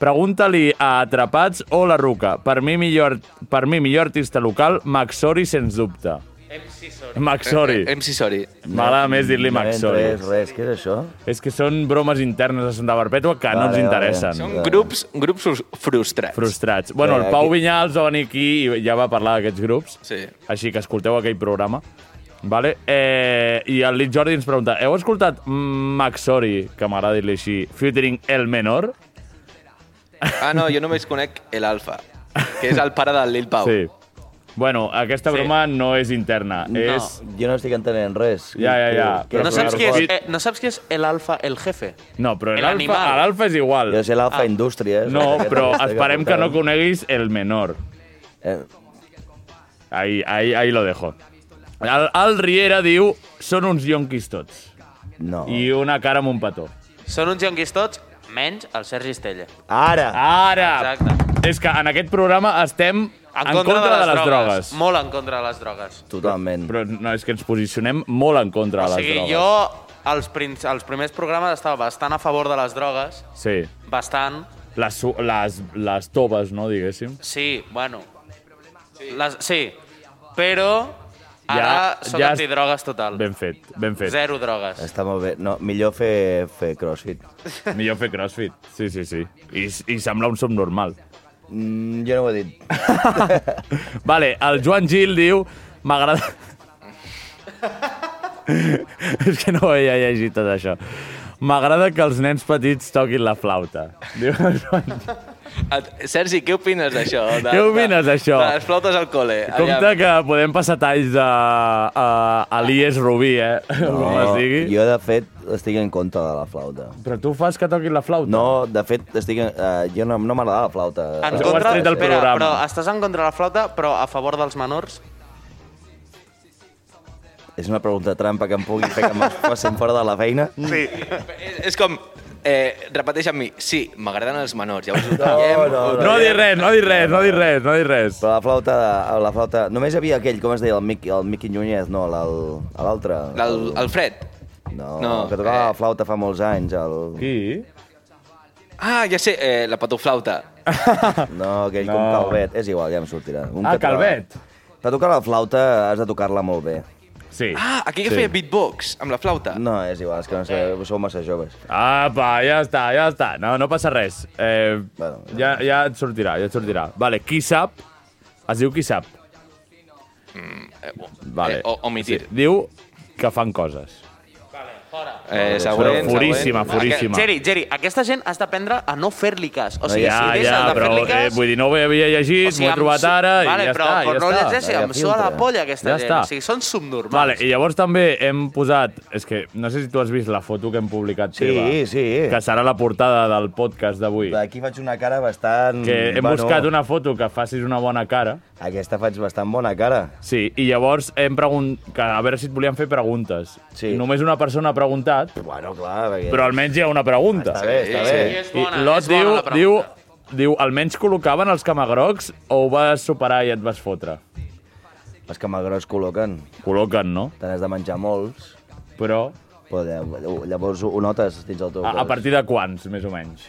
Speaker 2: Pregunta-li a Atrapats o La Ruca. Per mi, millor, per mi, millor artista local, Maxori, sens dubte. Maxori.
Speaker 6: eh, MC Sorry.
Speaker 2: M'agrada més dir-li
Speaker 4: No
Speaker 2: Maxori.
Speaker 4: Res, res, què és això?
Speaker 2: És que són bromes internes de Santa Perpètua que no
Speaker 4: Vale,
Speaker 2: ens
Speaker 4: vale.
Speaker 2: interessen.
Speaker 6: Són grups, grups frus- frustrats.
Speaker 2: Frustrats. Bueno, el
Speaker 4: Eh,
Speaker 2: Pau
Speaker 4: aquí-
Speaker 2: Vinyals va venir aquí i ja va parlar d'aquests grups.
Speaker 6: Sí.
Speaker 2: Així que escolteu aquell programa. Vale? Eh, I el Lit Jordi ens pregunta, heu escoltat Maxori, que m'agrada dir-li així, featuring El Menor?
Speaker 6: Ah, no, jo només conec l'Alfa, que és el pare del Lil Pau.
Speaker 2: Sí. Bueno, aquesta
Speaker 5: Sí.
Speaker 2: broma no és interna, és...
Speaker 4: Jo no estic entenent res.
Speaker 2: Ja, ja, ja.
Speaker 4: Què-
Speaker 2: Però
Speaker 5: No
Speaker 4: què-
Speaker 5: saps
Speaker 2: Claro,
Speaker 5: qui és,
Speaker 2: Pol.
Speaker 5: eh, no saps qui és el alfa, el jefe?
Speaker 2: No, però
Speaker 5: El
Speaker 2: l'alfa
Speaker 5: animal.
Speaker 2: l'alfa és igual.
Speaker 4: Jo sé l'Alfa Indústries.
Speaker 2: Ah. No,
Speaker 4: aquesta
Speaker 2: però
Speaker 4: aquesta
Speaker 2: esperem que no
Speaker 4: portaven.
Speaker 2: coneguis El Menor.
Speaker 4: Eh,
Speaker 2: Ahí, ahí, ahí lo dejo. El, el Riera diu, són uns yonquis tots.
Speaker 4: no.
Speaker 2: I una cara amb un petó.
Speaker 5: Són uns jonquis tots, menys el Sergi Estella.
Speaker 4: Ara!
Speaker 2: Ara!
Speaker 5: Exacte.
Speaker 2: És que en aquest programa estem en, contra, de, les drogues.
Speaker 5: Molt en contra de les drogues.
Speaker 4: Totalment.
Speaker 2: Però no, és que ens posicionem molt en contra
Speaker 5: O
Speaker 2: de les
Speaker 5: sigui,
Speaker 2: drogues.
Speaker 5: jo als, prin- als primers programes estava bastant a favor de les drogues,
Speaker 2: Sí.
Speaker 5: bastant,
Speaker 2: Les, su- les, les toves, no, diguéssim.
Speaker 5: sí, bueno, les, sí, però ara
Speaker 2: Ja-
Speaker 5: sóc
Speaker 2: ja-
Speaker 5: antidrogues total.
Speaker 2: Ben fet, ben fet.
Speaker 5: Zero drogues.
Speaker 4: Està molt bé. No, millor fer, fer crossfit.
Speaker 2: Millor fer crossfit. Sí, sí, sí. I, i sembla un subnormal.
Speaker 4: Mm, jo no ho he dit.
Speaker 2: Vale, el Joan Gil diu... M'agrada... és que no ho havia llegit tot això. M'agrada que els nens petits toquin la flauta. Diu el Joan Gil.
Speaker 6: Et- Sergi, què opines d'això? De-
Speaker 2: Què opines
Speaker 6: de-
Speaker 2: d'això?
Speaker 6: De les flautes al col·le.
Speaker 2: Compte que podem passar talls a, a, a l'IES Rubí, eh? No, com es digui.
Speaker 4: jo, de fet, estic en contra de la flauta.
Speaker 2: Però tu fas que toquin la flauta?
Speaker 4: No, de fet, estic, uh, jo no, no m'agrada la flauta.
Speaker 2: Ah,
Speaker 5: En contra, espera, però estàs en contra de la flauta, però a favor dels menors?
Speaker 4: És una pregunta trampa que em pugui fer que em facin fora de la feina?
Speaker 6: Sí. És, és com... Eh, repeteix amb mi, sí, m'agraden els menors, llavors ho traiem...
Speaker 2: No dir res, no dir res, no dir res, no dir res.
Speaker 4: Però la flauta, la flauta... Només hi havia aquell, com es deia, el Miqui, el Miqui Núñez, no, l'al- l'altre.
Speaker 6: El, el Fred.
Speaker 4: No, no,
Speaker 6: No,
Speaker 4: que tocava
Speaker 5: eh.
Speaker 4: la flauta fa molts anys. El...
Speaker 2: Qui?
Speaker 6: Ah, ja sé, eh, la patoflauta.
Speaker 4: No, aquell no.
Speaker 6: No.
Speaker 4: com Calvet. És igual, ja em sortirà. Un
Speaker 6: Ah,
Speaker 4: català.
Speaker 6: Calvet.
Speaker 4: Per tocar la flauta has de tocar-la molt bé.
Speaker 2: Sí. Mm,
Speaker 6: Ah, aquí que feia beatbox, amb la flauta.
Speaker 4: No, és igual, és que no sé,
Speaker 5: Eh.
Speaker 4: sou massa joves.
Speaker 2: Apa, ja està, ja està. No, no passa res. Eh, ja, ja et sortirà, ja et sortirà. Vale, qui sap? Es diu qui sap. Vale.
Speaker 6: eh, o- omitir.
Speaker 2: Sí, diu que fan coses. següent,
Speaker 6: Eh, següent,
Speaker 2: Però
Speaker 5: Ah,
Speaker 2: furíssima, següent. furíssima.
Speaker 5: Geri, Geri, aquesta gent has d'aprendre a no fer-li cas. O sigui,
Speaker 2: ja,
Speaker 5: si
Speaker 2: ja,
Speaker 5: deixes de
Speaker 2: però
Speaker 5: fer-li cas...
Speaker 2: eh, vull dir, no ho havia llegit,
Speaker 5: O sigui,
Speaker 2: m'ho he
Speaker 5: em
Speaker 2: trobat
Speaker 5: su-
Speaker 2: ara
Speaker 5: Vale,
Speaker 2: i ja
Speaker 5: però-
Speaker 2: està.
Speaker 5: però
Speaker 2: ja
Speaker 5: no
Speaker 2: està.
Speaker 5: llegeixi, em suda la polla aquesta gent. O sigui, són subnormals.
Speaker 2: Vale, I llavors també hem posat... És que no sé si tu has vist la foto que hem publicat
Speaker 4: Sí,
Speaker 2: teva.
Speaker 4: sí.
Speaker 2: Que serà la portada del podcast d'avui.
Speaker 4: Aquí faig una cara bastant...
Speaker 2: Que hem buscat una foto que facis una bona cara.
Speaker 4: Aquesta faig bastant bona cara.
Speaker 2: Sí, i llavors hem pregunt... que A veure si et volien fer preguntes. Sí. Només una persona ha preguntat.
Speaker 4: Bueno, clar, perquè...
Speaker 2: Però almenys hi ha una pregunta.
Speaker 4: Està bé, està Sí, bé. sí, és
Speaker 2: I
Speaker 4: bona,
Speaker 2: Lot
Speaker 4: és bona
Speaker 2: diu,
Speaker 4: la pregunta.
Speaker 2: diu, diu, almenys col·locaven els camagrocs o ho vas superar i et vas fotre?
Speaker 4: Els camagrocs col·loquen.
Speaker 2: Col·loquen, no?
Speaker 4: Te n'has de menjar molts.
Speaker 2: Però...
Speaker 4: Però ll- llavors ho ho notes dins el teu
Speaker 2: A, a
Speaker 4: cos.
Speaker 2: partir de quants, més o menys?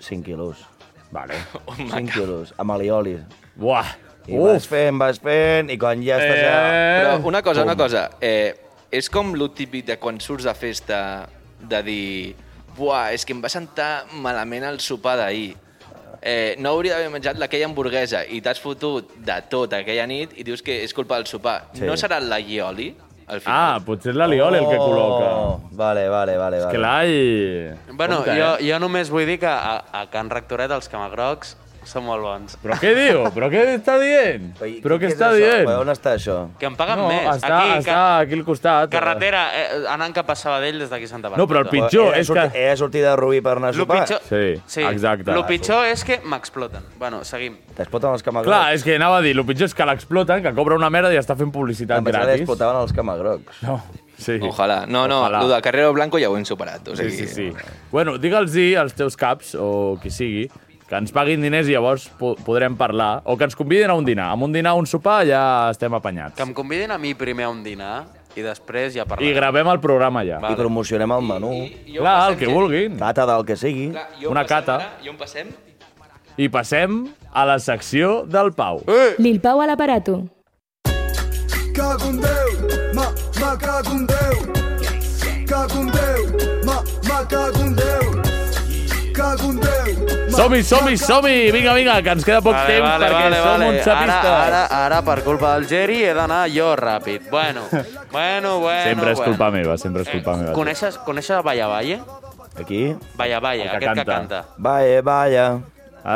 Speaker 4: 5 quilos.
Speaker 2: Vale.
Speaker 5: Oh
Speaker 4: 5 quilos, amb aliolis.
Speaker 2: Buah!
Speaker 4: I Uf. vas fent, vas fent, i quan ja estàs... Eh...
Speaker 6: Però una cosa, una cosa. Eh, és com lo típic de quan surts de festa de dir... Buah, és que em va sentar malament el sopar d'ahir. Eh, no hauria d'haver menjat aquella hamburguesa i t'has fotut de tot aquella nit i dius que és culpa del sopar.
Speaker 2: Sí.
Speaker 6: Sí. No serà l'allioli? al final?
Speaker 2: Ah, potser és l'Aliol el que col·loca.
Speaker 4: Oh. Vale, vale, vale.
Speaker 2: És que l'all...
Speaker 5: Bueno,
Speaker 2: Compte,
Speaker 5: jo,
Speaker 2: eh?
Speaker 5: jo només vull dir que a, a Can Rectoret els camagrocs són molt bons.
Speaker 2: Però què diu? Però què està dient? Però què
Speaker 5: què és
Speaker 2: està
Speaker 5: això?
Speaker 2: dient?
Speaker 5: Però on
Speaker 4: està això?
Speaker 5: Que em paguen
Speaker 2: no,
Speaker 5: més.
Speaker 2: Està,
Speaker 5: Aquí,
Speaker 2: està aquí al costat.
Speaker 5: Carretera, eh, anant cap a Sabadell des d'aquí a Santa Bàrbara.
Speaker 4: he de sortir- He de sortir de Rubí per anar a
Speaker 5: Lo
Speaker 4: sopar.
Speaker 5: pitjor-
Speaker 2: Sí,
Speaker 5: Sí, El pitjor és que m'exploten. Bueno, seguim.
Speaker 4: T'exploten els camagrocs.
Speaker 2: Clar, és que anava a dir, el pitjor és que l'exploten, que cobra una merda i està fent publicitat
Speaker 4: Em pensava que
Speaker 2: gratis.
Speaker 4: explotaven els camagrocs.
Speaker 2: No, sí.
Speaker 6: Ojalà. No, no,
Speaker 2: Ojalà.
Speaker 6: Ojalà. lo del Carrero Blanco ja ho hem superat. O
Speaker 2: Sí,
Speaker 6: sigui,
Speaker 2: sí, sí. Bueno, digue'ls als teus caps, o qui sigui, que ens paguin diners i llavors po podrem parlar. O que ens convidin a un dinar. Amb un dinar o un sopar ja estem apanyats.
Speaker 5: Que em convidin a mi primer a un dinar i després ja parlem.
Speaker 2: I gravem el programa ja.
Speaker 4: I promocionem el menú.
Speaker 5: jo Clar,
Speaker 2: el que que- vulguin.
Speaker 4: Cata del que sigui.
Speaker 6: Clar,
Speaker 2: jo Una passem cata. ara-
Speaker 6: I on passem?
Speaker 2: I passem a la secció del Pau.
Speaker 1: Lil Pau a l'aparato.
Speaker 7: Cago en Déu, ma, ma cago en Déu. Cago en Déu, ma, ma cago en Déu. Cago en Déu, ma,
Speaker 2: Som-hi, som-hi, som-hi! Vinga, vinga, que ens queda poc temps perquè som uns sapistes.
Speaker 5: Ara, ara, ara, per culpa del Geri, he d'anar jo ràpid. Bueno, bueno, bueno.
Speaker 2: Sempre és
Speaker 5: bueno.
Speaker 2: culpa meva, sempre és
Speaker 5: Eh,
Speaker 2: culpa meva.
Speaker 5: Coneixes, coneixes a Valla Valle?
Speaker 4: Aquí?
Speaker 5: Valla Valle,
Speaker 2: El que
Speaker 5: aquest que
Speaker 2: canta.
Speaker 5: canta.
Speaker 4: Vaya, vaya.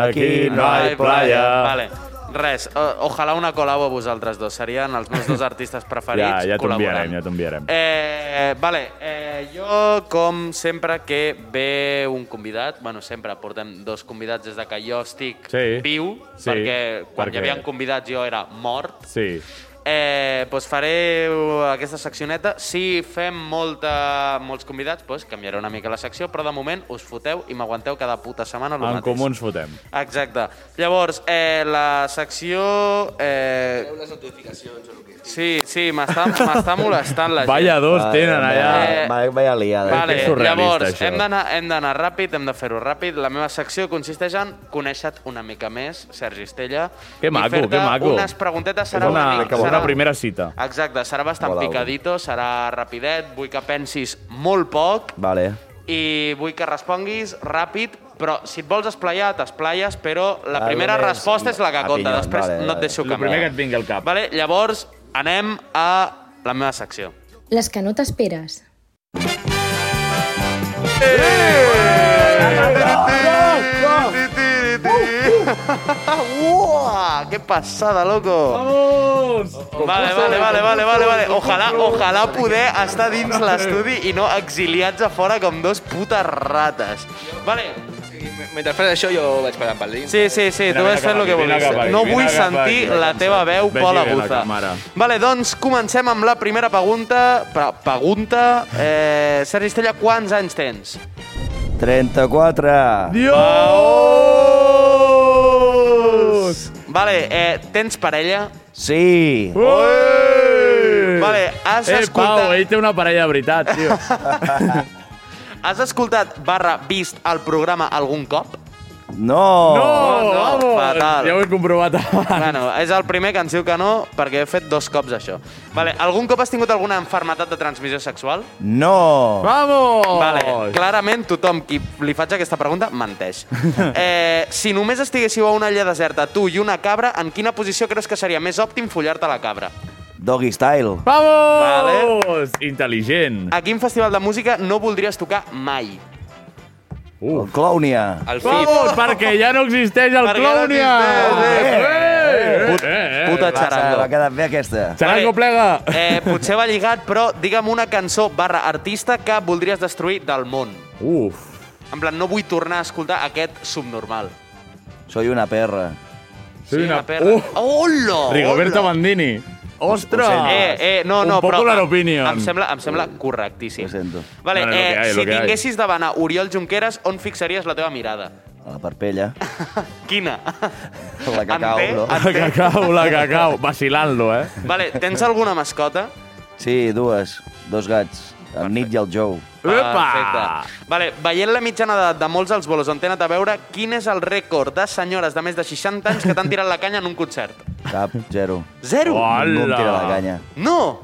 Speaker 4: Aquí no hay playa.
Speaker 5: Vale. Res, o, ojalà una col·labo a vosaltres dos. Serien els meus dos artistes
Speaker 2: Ja,
Speaker 5: preferits
Speaker 2: ja
Speaker 5: col·laborant.
Speaker 2: t'enviarem, ja t'enviarem.
Speaker 5: Eh, vale, eh, jo, com sempre que ve un convidat, bueno, sempre portem dos convidats des de que jo estic
Speaker 2: Sí.
Speaker 5: viu,
Speaker 2: Sí,
Speaker 5: perquè quan
Speaker 2: perquè-
Speaker 5: hi havia convidats jo era mort,
Speaker 2: Sí.
Speaker 5: eh, doncs faré aquesta seccioneta. Si fem molta, molts convidats, doncs canviaré una mica la secció, però de moment us foteu i m'aguanteu cada puta setmana el
Speaker 2: En
Speaker 5: mateix.
Speaker 2: comú ens fotem.
Speaker 5: Exacte. Llavors, eh, la secció... Eh... les notificacions o què? Sí, sí, m'està m'està molestant la gent.
Speaker 2: Vaya dos tenen allà.
Speaker 5: Eh,
Speaker 4: Vaya, vaya liada.
Speaker 5: Vale,
Speaker 2: És surrealista,
Speaker 5: Eh, llavors,
Speaker 2: això.
Speaker 5: hem d'anar hem d'anar ràpid, hem de fer-ho ràpid. La meva secció consisteix en conèixer una mica més, Sergi Estella.
Speaker 2: Que
Speaker 5: i
Speaker 2: maco,
Speaker 5: fer-te
Speaker 2: que maco.
Speaker 5: unes preguntetes serà
Speaker 2: és una,
Speaker 5: una, mica... serà-
Speaker 2: una primera cita.
Speaker 5: Exacte, serà bastant
Speaker 2: Mola,
Speaker 5: picadito, serà rapidet, vull que pensis molt poc
Speaker 4: Vale.
Speaker 5: i vull que responguis ràpid, però si et vols esplayar, t'esplayes, però la
Speaker 2: Ah,
Speaker 5: primera
Speaker 2: només
Speaker 5: resposta és la que
Speaker 2: a
Speaker 5: compta,
Speaker 2: pinyons,
Speaker 5: després
Speaker 2: vale,
Speaker 5: no
Speaker 2: vale.
Speaker 5: et deixo
Speaker 2: Lo
Speaker 5: canviar.
Speaker 2: primer que et vingui al cap.
Speaker 5: Vale, llavors anem a la meva secció.
Speaker 1: Les que no t'esperes.
Speaker 5: Tiri, tiri, tiri. Ah, ¡Uah! ¡Qué pasada, loco!
Speaker 2: ¡Vamos!
Speaker 5: Vale, vale, vale, vale, vale, vale. Ojalà, ojalà poder estar dins l'estudi i no exiliats a fora com dos putes rates. Vale.
Speaker 6: Mentre fas això jo vaig parlant pel dins.
Speaker 5: Sí, sí, sí, tu vas fent el que vulguis. No vull sentir la teva veu, Pol Aguza. Vale, doncs comencem amb la primera pregunta. Pre- Pregunta. Eh, Sergi Estella, quants anys tens?
Speaker 4: 34.
Speaker 5: Dios! Vale, eh, tens parella?
Speaker 4: Sí.
Speaker 5: Vale, has
Speaker 2: eh,
Speaker 5: escoltat-
Speaker 2: Pau, ell té una parella de veritat, tio.
Speaker 5: Has escoltat barra vist el programa algun cop?
Speaker 4: No!
Speaker 5: Oh, no, fatal.
Speaker 2: Ja ho he comprovat abans.
Speaker 5: Bueno, és el primer que ens diu que no, perquè he fet dos cops això. Vale, algun cop has tingut alguna enfermedad de transmissió sexual?
Speaker 4: No!
Speaker 2: Vamos!
Speaker 5: Vale, clarament tothom qui li faig aquesta pregunta menteix. Eh, si només estiguéssiu a una illa deserta, tu i una cabra, en quina posició creus que seria més òptim follar-te la cabra?
Speaker 4: Doggy style.
Speaker 2: Vamos! Vale. Intel·ligent.
Speaker 5: A quin festival de música no voldries tocar mai?
Speaker 4: Uh. El Clownia.
Speaker 6: El
Speaker 2: Vamos, perquè ja no existeix el Eh,
Speaker 5: Perquè no
Speaker 2: Clownia!
Speaker 4: Put,
Speaker 2: eh,
Speaker 4: puta xaranga. Va quedar bé aquesta.
Speaker 2: Xarango plega!
Speaker 5: Eh, potser va lligat, però digue'm una cançó barra artista que voldries destruir del món.
Speaker 2: Uf.
Speaker 5: En plan, no vull tornar a escoltar aquest subnormal.
Speaker 4: Soy una perra.
Speaker 5: Soy una perra.
Speaker 2: Uh.
Speaker 5: Hola!
Speaker 2: Rigoberta Bandini. Ostres!
Speaker 5: Eh, eh, no,
Speaker 2: Un
Speaker 5: no,
Speaker 2: poco
Speaker 5: però...
Speaker 2: la opinión.
Speaker 5: Em sembla, em sembla correctíssim.
Speaker 4: sento.
Speaker 5: Vale,
Speaker 2: Bueno, lo
Speaker 5: eh,
Speaker 2: que hay, lo
Speaker 5: si
Speaker 2: que hay.
Speaker 5: tinguessis davant a Oriol Junqueras, on fixaries la teva mirada?
Speaker 4: A la parpella.
Speaker 5: Quina?
Speaker 4: La cacao,
Speaker 5: En té?
Speaker 4: no?
Speaker 5: En
Speaker 2: La
Speaker 5: té?
Speaker 2: cacao, la cacao. Vacilando, eh?
Speaker 5: Vale, tens alguna mascota?
Speaker 4: Sí, dues. Dos gats. El Nit i el Joe.
Speaker 2: Epa!
Speaker 5: Ah, Perfecte. Vale, veient la mitjana d'edat de molts als bolos on t'he anat a veure, quin és el rècord de senyores de més de 60 anys que t'han tirat la canya en un concert?
Speaker 4: Cap, zero.
Speaker 5: Zero?
Speaker 4: Ningú em tira la
Speaker 2: Hola!
Speaker 4: canya.
Speaker 5: No!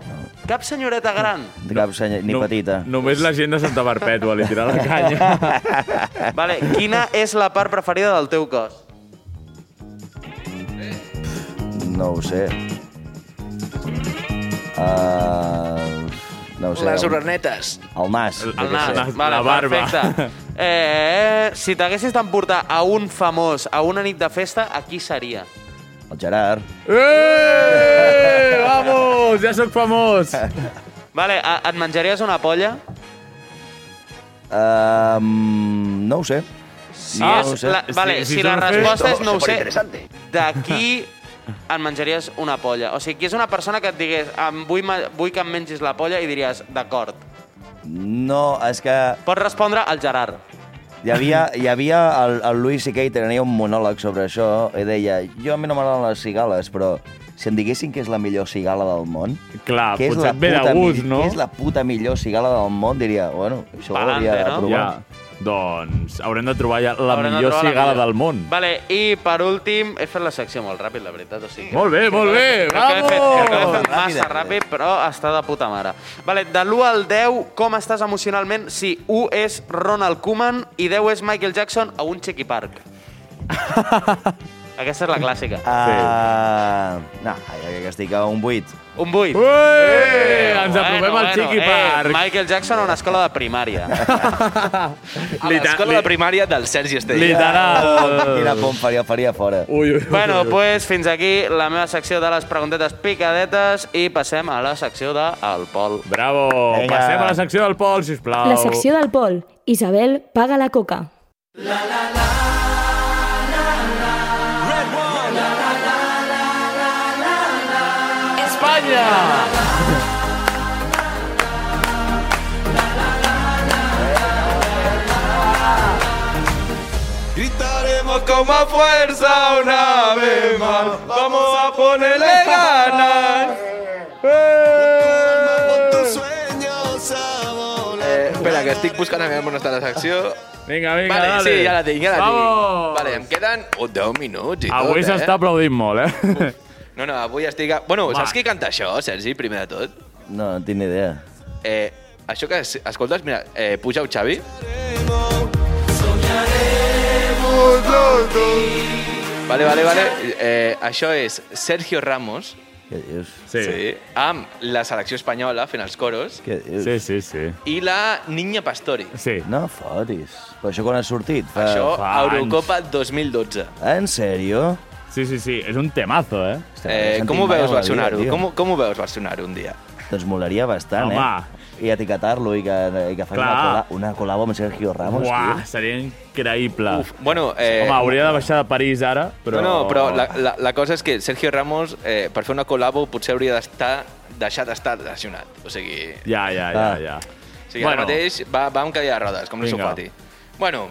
Speaker 5: Cap senyoreta gran.
Speaker 4: Cap senyor, ni
Speaker 2: No-
Speaker 4: petita.
Speaker 2: Només la gent de Santa Perpètua li tira la canya.
Speaker 5: Vale, quina és la part preferida del teu cos?
Speaker 4: No ho sé. Uh, no ho sé.
Speaker 6: Les
Speaker 4: el,
Speaker 6: oranetes.
Speaker 4: el nas. jo
Speaker 5: El
Speaker 4: què
Speaker 5: nas.
Speaker 4: sé.
Speaker 2: sé.
Speaker 5: Vale,
Speaker 2: La barba.
Speaker 5: Perfecte. Eh, si t'haguessis d'emportar a un famós a una nit de festa, a qui seria?
Speaker 4: El Gerard.
Speaker 2: Eh! Vamos! Ja sóc famós!
Speaker 5: Vale, a, et menjaries una polla?
Speaker 4: Um, no ho sé.
Speaker 5: Si
Speaker 4: Ah, no ho
Speaker 5: és
Speaker 4: sé.
Speaker 5: la, vale,
Speaker 2: Si-
Speaker 5: si,
Speaker 2: si
Speaker 5: si la
Speaker 2: surfe-
Speaker 5: resposta és no ho sé, d'aquí et menjaries una polla. O sigui, qui és una persona que et digués em vull, ma- vull que em mengis la polla i diries d'acord.
Speaker 4: No, és que
Speaker 5: Pots respondre al Gerard.
Speaker 4: hi havia, hi havia el, el Louis C.K. tenia un monòleg sobre això i deia, jo a mi no m'agraden les cigales, però si em diguessin que és la millor cigala del món,
Speaker 2: Clar,
Speaker 4: que és,
Speaker 2: Ah, potser
Speaker 4: la
Speaker 2: et ve de
Speaker 4: puta mi-
Speaker 2: gust, no?
Speaker 4: que és la puta millor cigala del món, diria, bueno, això ho
Speaker 5: Pa'lante,
Speaker 4: hauria de
Speaker 5: no?
Speaker 4: provar.
Speaker 2: Ja, doncs haurem de trobar ja la
Speaker 5: Haurem de
Speaker 2: millor
Speaker 5: trobar la
Speaker 2: cigala
Speaker 5: millor.
Speaker 2: del món.
Speaker 5: Vale, i per últim, he fet la secció molt ràpid, la veritat. O sigui,
Speaker 2: Molt bé, molt bé,
Speaker 5: Crec que l'he fet, crec que l'he
Speaker 2: vamos!
Speaker 5: fet massa ràpid, però està de puta mare. Vale, de l'1 al 10, com estàs emocionalment si 1 és Ronald Koeman i 10 és Michael Jackson a un Chiqui Park? Aquesta és la clàssica.
Speaker 4: Ah, no, jo crec que estic a un 8.
Speaker 5: Un 8. Eh,
Speaker 2: Ué! Ens aprovem al Chiqui Park.
Speaker 5: Michael Jackson a una escola de primària.
Speaker 6: A l'escola de primària del Sergi Estella.
Speaker 4: Quina
Speaker 2: Literal.
Speaker 4: pom faria, faria fora.
Speaker 2: Ui, ui, ui.
Speaker 5: bueno, doncs pues, fins aquí la meva secció de les preguntetes picadetes i passem a la secció de El Pol.
Speaker 2: Bravo!
Speaker 4: Vinga.
Speaker 2: Passem a la secció del Pol, sisplau.
Speaker 1: La secció del Pol. Isabel paga la coca.
Speaker 2: Espanya!
Speaker 5: Gritaremos con más fuerza una vez más. Vamos a ponerle ganas.
Speaker 6: Eh, espera, que estic buscant a veure on està la secció.
Speaker 2: Vinga, vinga,
Speaker 6: vale,
Speaker 2: dale.
Speaker 6: sí, ja la tinc, ja la
Speaker 2: Vamos!
Speaker 6: tinc. Vale, em queden oh, 10 minuts i
Speaker 2: Avui
Speaker 6: tot,
Speaker 2: s'està aplaudint molt, eh?
Speaker 6: eh? No, no, avui estic... A... Bueno,
Speaker 2: Va.
Speaker 6: saps qui canta això, Sergi, primer de tot?
Speaker 4: No, no tinc ni idea.
Speaker 6: Eh, això que es- escoltes, mira, eh, puja el Xavi. Vale, vale, vale. Eh, això és Sergio Ramos
Speaker 4: Què dius?
Speaker 6: Sí. sí. Amb la selecció espanyola fent els coros
Speaker 4: Què dius?
Speaker 2: Sí, sí, sí.
Speaker 6: i la Niña Pastori.
Speaker 2: Sí.
Speaker 4: No fotis. Però això quan ha sortit? Fa...
Speaker 6: Això,
Speaker 4: fa anys.
Speaker 6: Eurocopa 2012.
Speaker 4: En sèrio?
Speaker 2: Sí, sí, sí. És un temazo, eh?
Speaker 6: Eh, com ho veus, Barcelona? Com, com ho veus, Barcelona, un dia?
Speaker 4: Doncs molaria bastant,
Speaker 2: Home.
Speaker 4: eh? I etiquetar-lo i que, i que faci una,
Speaker 2: Clar.
Speaker 4: cola, una col·labo amb Sergio Ramos,
Speaker 2: Uah,
Speaker 4: tio.
Speaker 2: seria increïble. Uf,
Speaker 6: bueno,
Speaker 2: Ah.
Speaker 6: eh,
Speaker 2: Home, hauria de baixar de París ara, però...
Speaker 6: Però... No, no, però la, la, la cosa és que Sergio Ramos, eh, per fer una col·labo, potser hauria d'estar deixat d'estar lesionat. O sigui,
Speaker 2: Ja, ja, ja,
Speaker 6: Ah.
Speaker 2: ja.
Speaker 6: o sigui bueno. ara mateix va, va amb cadira de rodes, com Luis
Speaker 2: Vinga.
Speaker 6: Fati. Bueno,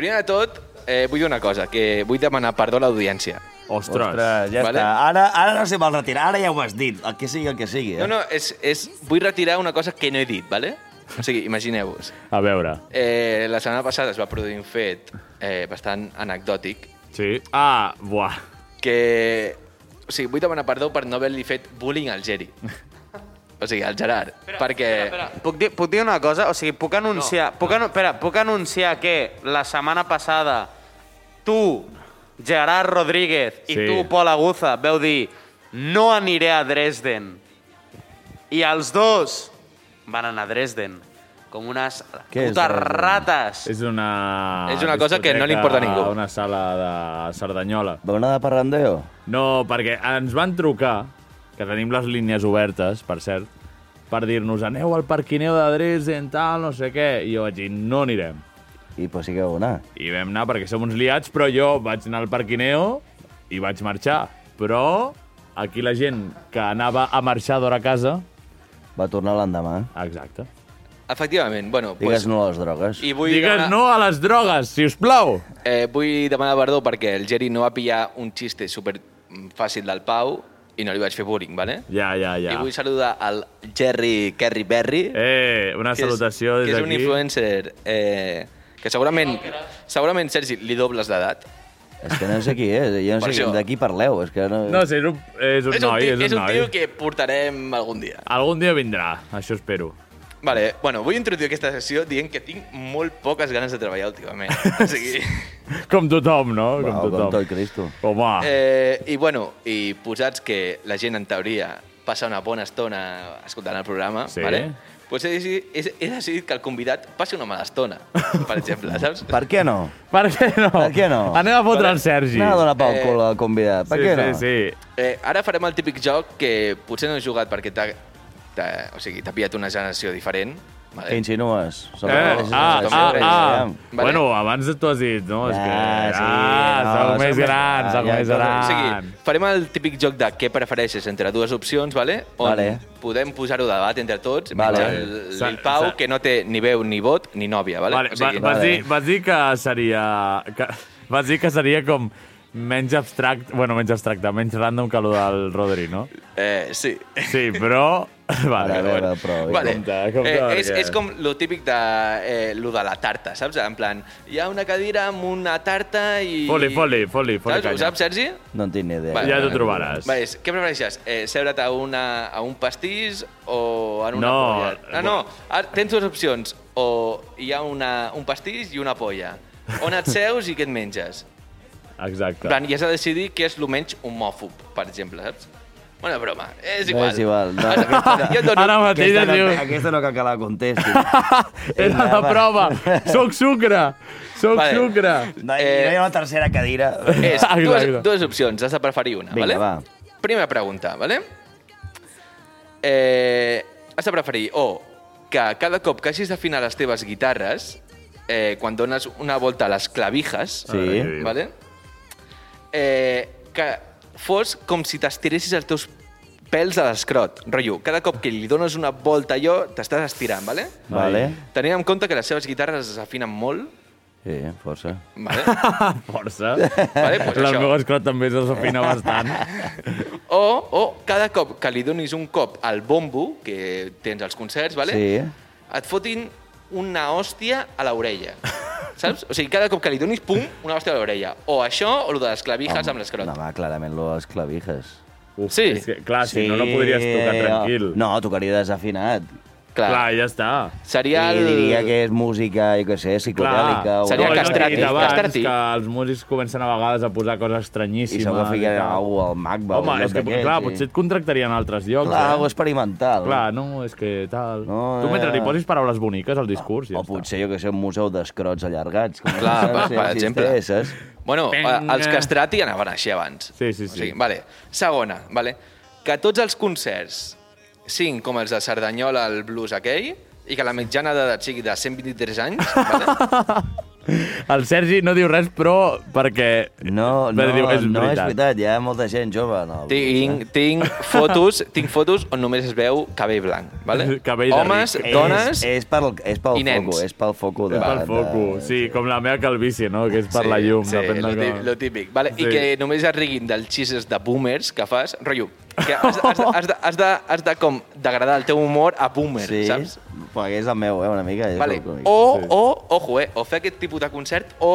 Speaker 6: primer de tot, eh, vull dir una cosa, que vull demanar perdó a l'audiència.
Speaker 2: Ostres.
Speaker 4: Ostres, ja vale. està. Ara, ara no sé mal retirar, ara ja ho has dit, el que sigui el que sigui. Eh?
Speaker 6: No, no, és, és, vull retirar una cosa que no he dit, ¿vale? O sigui, imagineu-vos.
Speaker 2: A veure.
Speaker 6: Eh, la setmana passada es va produir un fet eh, bastant anecdòtic
Speaker 2: Sí. Ah, buah.
Speaker 6: que... O sigui, vull demanar perdó per no haver-li fet bullying al Geri. O sigui, al Gerard. Espera, perquè... Espera, espera.
Speaker 5: Puc dir, puc dir una cosa? O sigui, puc anunciar... No. Puc, anu espera, puc anunciar que la setmana passada tu, Gerard Rodríguez, i
Speaker 2: Sí.
Speaker 5: tu, Pol Aguza, veu dir no aniré a Dresden. I els dos van anar a Dresden com unes
Speaker 2: Què és
Speaker 5: putes
Speaker 2: Dresden?
Speaker 5: rates.
Speaker 2: És una...
Speaker 6: És una cosa que no li importa a ningú.
Speaker 2: discoteca, Una sala de Cerdanyola.
Speaker 4: Va anar de parrandeo?
Speaker 2: No, perquè ens van trucar, que tenim les línies obertes, per cert, per dir-nos aneu al parquineu de Dresden, tal, no sé què. I jo vaig dir, no anirem.
Speaker 4: I però sí que vau anar.
Speaker 2: I vam anar perquè som uns liats, però jo vaig anar al parquineo i vaig marxar. Però aquí la gent que anava a marxar d'hora a casa...
Speaker 4: Va tornar l'endemà.
Speaker 2: Exacte.
Speaker 6: Efectivament, bueno...
Speaker 4: Digues
Speaker 6: pues,
Speaker 4: no a les drogues.
Speaker 6: I vull
Speaker 2: Digues
Speaker 6: demanar,
Speaker 2: no a les drogues, si us plau!
Speaker 6: eh, vull demanar perdó perquè el Geri no va pillar un xiste super fàcil del Pau i no li vaig fer bullying, vale?
Speaker 2: Ja, ja, ja.
Speaker 6: I vull saludar el Jerry Kerry Berry.
Speaker 2: Eh, una
Speaker 6: que és-
Speaker 2: salutació des
Speaker 6: Que és un
Speaker 2: d'aquí.
Speaker 6: influencer eh, que segurament, segurament, Sergi, li dobles d'edat.
Speaker 4: És que no sé qui és, jo no
Speaker 6: Per
Speaker 4: sé
Speaker 6: això.
Speaker 4: de qui parleu. És que no...
Speaker 2: No sé, és un, és un
Speaker 6: és
Speaker 2: noi,
Speaker 6: un, tio,
Speaker 2: és un
Speaker 6: un
Speaker 2: noi.
Speaker 6: tio que portarem algun dia.
Speaker 2: Algun dia vindrà, això espero.
Speaker 6: Vale, bueno, vull introduir aquesta sessió dient que tinc molt poques ganes de treballar últimament. O sigui,
Speaker 2: Com tothom, no?
Speaker 4: Va,
Speaker 2: Com tothom.
Speaker 4: com tot Cristo.
Speaker 2: Home,
Speaker 6: eh, I bueno, i posats que la gent en teoria passa una bona estona escoltant el programa,
Speaker 2: Sí.
Speaker 6: vale? Pues he, decidit, he, he decidit que el convidat passi una mala estona, per exemple, saps?
Speaker 4: Per què no?
Speaker 2: Per què no?
Speaker 4: Per què no?
Speaker 2: Anem a fotre en Sergi.
Speaker 4: Anem a donar pel
Speaker 6: Eh,
Speaker 4: cul al convidat. Per
Speaker 2: sí,
Speaker 4: què
Speaker 2: sí,
Speaker 4: no?
Speaker 2: sí.
Speaker 6: Eh, ara farem el típic joc que potser no he jugat perquè t'ha t'ha- o sigui, t'ha pillat una generació diferent.
Speaker 4: Què
Speaker 6: Vale?
Speaker 4: insinues? Som
Speaker 2: Eh,
Speaker 4: els-
Speaker 2: ah,
Speaker 4: els-
Speaker 2: ah,
Speaker 4: els-
Speaker 2: ah.
Speaker 4: els-
Speaker 6: Vale.
Speaker 2: Bueno, abans tu has dit, no? És que...
Speaker 4: Ah, sí,
Speaker 2: Ah,
Speaker 4: no,
Speaker 2: soc
Speaker 4: soc
Speaker 2: més
Speaker 4: més
Speaker 2: gran,
Speaker 4: gran,
Speaker 2: soc
Speaker 4: ja,
Speaker 2: més
Speaker 4: tot-
Speaker 6: O
Speaker 2: gran.
Speaker 6: sigui, farem el típic joc de què prefereixes entre dues opcions, vale? on
Speaker 4: Vale.
Speaker 6: podem posar-ho de debat entre tots,
Speaker 4: Vale.
Speaker 6: vale. el,
Speaker 2: Sa-
Speaker 6: el Pau,
Speaker 2: sa-
Speaker 6: que no té ni veu ni vot ni nòvia. Vale?
Speaker 2: Vale, va, vas, dir, vas dir que seria... Que, vas dir que seria com menys abstracte, bueno, menys abstracte, menys random que el del Rodri, no?
Speaker 6: eh, sí.
Speaker 2: Sí, però... Vale,
Speaker 4: A veure,
Speaker 2: bueno.
Speaker 4: però...
Speaker 6: Vale.
Speaker 2: compte, compte,
Speaker 6: eh, és,
Speaker 2: perquè-
Speaker 6: és com lo típic de eh, lo de la tarta, saps? En plan, hi ha una cadira amb una tarta i...
Speaker 2: Foli, foli, foli, foli
Speaker 6: saps, ho
Speaker 2: canya.
Speaker 6: saps, Sergi?
Speaker 4: No en tinc ni idea.
Speaker 6: Vale.
Speaker 2: Ja t'ho trobaràs.
Speaker 6: Va, és, què prefereixes? Eh, Seure't a, una, a un pastís o en una
Speaker 2: No,
Speaker 6: polla? No, no, ara tens dues opcions. O hi ha una, un pastís i una polla. On et seus i què et menges? En
Speaker 2: Exacte.
Speaker 6: plan, i has de decidir què és el menys homòfob, per exemple, saps? Bona broma, és igual.
Speaker 4: és igual, no.
Speaker 6: Ara, jo et dono...
Speaker 2: Ara mateix
Speaker 4: Aquesta
Speaker 2: et diu...
Speaker 4: no, aquesta no cal que la contesti.
Speaker 2: Era
Speaker 4: Vinga,
Speaker 2: la
Speaker 4: va.
Speaker 2: prova. Soc sucre. Soc
Speaker 6: Vale.
Speaker 2: sucre.
Speaker 4: No, hi-
Speaker 6: Eh,
Speaker 4: no hi ha una tercera cadira.
Speaker 6: És
Speaker 2: Exacte.
Speaker 6: dues, dues opcions, has de preferir una,
Speaker 4: Vinga,
Speaker 6: vale?
Speaker 4: va.
Speaker 6: Primera pregunta, vale? Eh, has de preferir o que cada cop que hagis d'afinar les teves guitarres, eh, quan dones una volta a les clavijes,
Speaker 4: Sí.
Speaker 2: Ai,
Speaker 6: vale? eh, que fos com si t'estiressis els teus pèls a l'escrot. Rotllo, cada cop que li dones una volta a allò, t'estàs estirant, vale?
Speaker 4: Vale.
Speaker 6: Tenint en compte que les seves guitarres es afinen molt,
Speaker 4: Sí, força.
Speaker 6: vale?
Speaker 2: Força.
Speaker 6: Vale, pues
Speaker 2: Les
Speaker 6: això.
Speaker 2: meves clot també es desafina bastant.
Speaker 6: O, o cada cop que li donis un cop al bombo, que tens als concerts, vale?
Speaker 4: Sí.
Speaker 6: et fotin una hòstia a l'orella. Saps? O sigui, cada cop que li donis, pum, una hòstia a l'orella. O això, o lo de les clavijes amb l'escrot.
Speaker 4: No, va, clarament, lo de les clavijes.
Speaker 2: Uf,
Speaker 6: Sí.
Speaker 2: Ah, És que, clar, si no, no podries tocar tranquil.
Speaker 4: No, tocaria desafinat.
Speaker 6: Clar.
Speaker 2: Clar, ja està.
Speaker 6: Seria
Speaker 4: I
Speaker 6: el...
Speaker 4: diria que és música, jo què sé, psicodèlica... o-
Speaker 2: No, és el que he dit abans, que els músics comencen a vegades a posar coses estranyíssimes.
Speaker 4: I segur que fiquen
Speaker 2: tal.
Speaker 4: algú al Macba.
Speaker 2: Home, és que, clar, potser et contractarien a altres llocs.
Speaker 4: Clar,
Speaker 2: eh?
Speaker 4: algo experimental.
Speaker 2: Clar, no, és que tal... No,
Speaker 4: No,
Speaker 2: tu mentre li
Speaker 4: eh.
Speaker 2: posis paraules boniques al discurs, ja
Speaker 4: O potser, jo que sé, un museu d'escrots allargats. Com
Speaker 6: Clar,
Speaker 4: no sé
Speaker 6: per,
Speaker 4: si
Speaker 6: per exemple.
Speaker 4: existeixes.
Speaker 6: Bueno,
Speaker 4: Venga.
Speaker 6: els castrati anaven així abans. Sí, sí, sí. O sigui, vale. Segona, vale. que tots els concerts siguin com els de Cerdanyola, el blues aquell, i que la mitjana d'edat sigui de 123 anys,
Speaker 2: està. El Sergi no diu res, però perquè...
Speaker 4: No,
Speaker 2: però diu, és
Speaker 4: no és
Speaker 2: veritat.
Speaker 4: veritat, hi ha molta gent jove. No,
Speaker 6: Tinc, tinc, fotos, tinc fotos on només es veu cabell blanc, vale?
Speaker 2: Cabell de
Speaker 6: Homes,
Speaker 2: ric.
Speaker 6: dones...
Speaker 4: És, és, pel, és pel
Speaker 6: i nens.
Speaker 4: foco, és pel foco. De,
Speaker 2: És pel foco, sí, com la meva calvície, no?, que és per la llum,
Speaker 6: sí,
Speaker 2: depèn
Speaker 6: lo,
Speaker 2: de
Speaker 6: típic,
Speaker 2: com...
Speaker 6: lo típic, vale?
Speaker 2: Sí.
Speaker 6: I que només es riguin dels xistes de boomers que fas, rotllo, que has, has, de- has, de, has, de, has de com degradar el teu humor a boomer,
Speaker 4: Sí,
Speaker 6: saps?
Speaker 4: Però és el meu, eh, una mica. És
Speaker 6: Vale.
Speaker 4: el meu.
Speaker 6: O, o, ojo, eh, o fer aquest tipus de concert o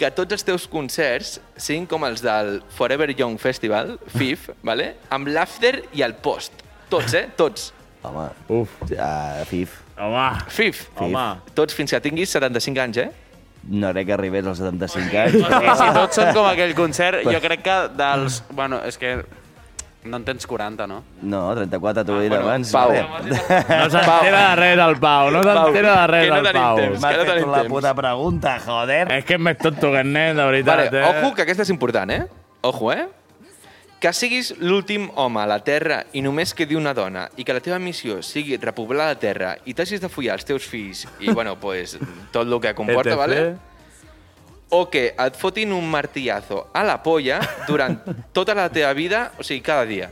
Speaker 6: que tots els teus concerts siguin com els del Forever Young Festival, FIF, vale? amb l'after i el post. Tots, eh? Tots.
Speaker 4: Home.
Speaker 2: Uf.
Speaker 4: Uh, FIF.
Speaker 2: Home.
Speaker 6: FIF.
Speaker 2: Ah,
Speaker 4: Home.
Speaker 6: Tots fins que tinguis 75 anys, eh?
Speaker 4: No crec que arribés als 75 anys.
Speaker 5: O sigui, si tots són com aquell concert, jo crec que dels... Bueno, és que no en tens 40, no?
Speaker 4: No, 34 t'ho he dit
Speaker 5: bueno,
Speaker 4: abans.
Speaker 5: Pau.
Speaker 6: Eh,
Speaker 2: No s'entera de res, el Pau, no s'entera de res, el Pau.
Speaker 4: M'ha fet la puta pregunta, joder.
Speaker 6: Eh.
Speaker 2: És que m'és tonto que nen, de
Speaker 6: Vale,
Speaker 2: veritat, eh?
Speaker 6: ojo, que aquesta és important, eh? Ojo, eh? Que siguis l'últim home a la Terra i només quedi una dona i que la teva missió sigui repoblar la Terra i t'hagis de follar els teus fills i, bueno, pues, tot el que comporta,
Speaker 2: ETC.
Speaker 6: vale? O que et fotin un martillazo a la polla durant tota la teva vida, o sigui, cada dia.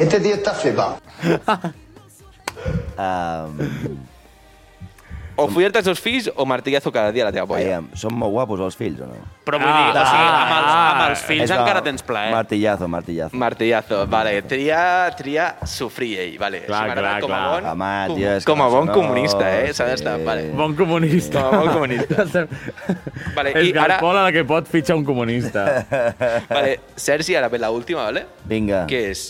Speaker 7: Este tío está flipado.
Speaker 4: Um,
Speaker 6: O follar-te els teus fills o martillazo cada dia a la teva polla.
Speaker 4: Aviam, són molt guapos els fills, o no?
Speaker 5: Però vull
Speaker 2: Ah,
Speaker 5: dir, o sigui, amb els, amb els fills
Speaker 4: És
Speaker 5: encara
Speaker 4: el
Speaker 5: tens
Speaker 6: eh?
Speaker 5: plaer.
Speaker 4: Martillazo, martillazo.
Speaker 6: Martillazo, vale. Tria, tria, sofrir ell, vale.
Speaker 4: Clar,
Speaker 6: Això m'agrada
Speaker 4: clar,
Speaker 6: com a
Speaker 4: clar.
Speaker 6: bon,
Speaker 4: Home,
Speaker 6: com,
Speaker 4: tio, és que
Speaker 6: com a
Speaker 4: no
Speaker 6: bon
Speaker 4: sé, no,
Speaker 6: comunista, eh? S'ha
Speaker 4: sí.
Speaker 6: d'estar, vale.
Speaker 2: Bon comunista.
Speaker 6: Com a bon comunista. vale,
Speaker 2: És que
Speaker 6: i
Speaker 2: el
Speaker 6: ara,
Speaker 2: Pol a la que pot fitxar un comunista.
Speaker 6: vale, Sergi, ara ve l'última, vale?
Speaker 4: Vinga.
Speaker 6: Que és,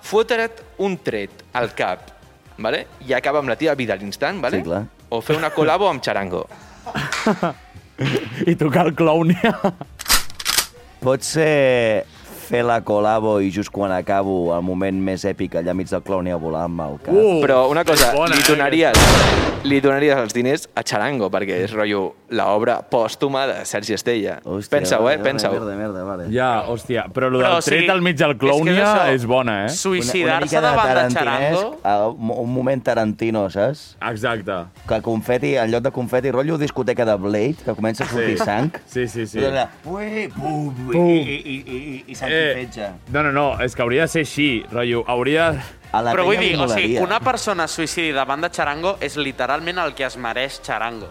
Speaker 6: fotre't un tret al cap, vale? I acaba amb la teva vida a l'instant, vale?
Speaker 4: Sí, clar.
Speaker 6: O fer una col·labo amb Charango.
Speaker 2: I tocar el clownia.
Speaker 4: Pot ser fer la colabo i just quan acabo el moment més èpic allà mig del clown i a volar amb el cap.
Speaker 6: Uh, Però una cosa, bona,
Speaker 4: eh,
Speaker 2: eh?
Speaker 6: li, donaries, li donaries els diners a Charango, perquè és rotllo l'obra pòstuma de Sergi Estella. Pensa-ho, eh? Pensa-ho.
Speaker 4: Merda, merda, vale.
Speaker 2: Ja, hòstia, però el
Speaker 6: Però,
Speaker 2: del
Speaker 6: o sigui,
Speaker 2: tret al mig del
Speaker 6: és que és
Speaker 2: clownia és,
Speaker 6: això.
Speaker 2: és bona, eh?
Speaker 5: Suïcidar-se
Speaker 4: Una mica
Speaker 5: davant de
Speaker 4: tarantinesc,
Speaker 5: Charango?
Speaker 4: a Ah, un- Un moment Tarantino, saps?
Speaker 2: Exacte.
Speaker 4: Que confeti, en lloc de confeti, rotllo discoteca de Blade, que comença a sortir
Speaker 2: Sí.
Speaker 4: sang.
Speaker 2: Sí, sí, sí.
Speaker 4: Dona, Ui, pum, i,
Speaker 2: Pum. Eh.
Speaker 4: i, i, i, i, i satisfetge.
Speaker 2: No, no, no, és que hauria de ser així, rotllo, hauria...
Speaker 4: A
Speaker 5: Però vull dir, o sigui, una persona suïcidi davant de Charango és literalment el que es mereix Charango.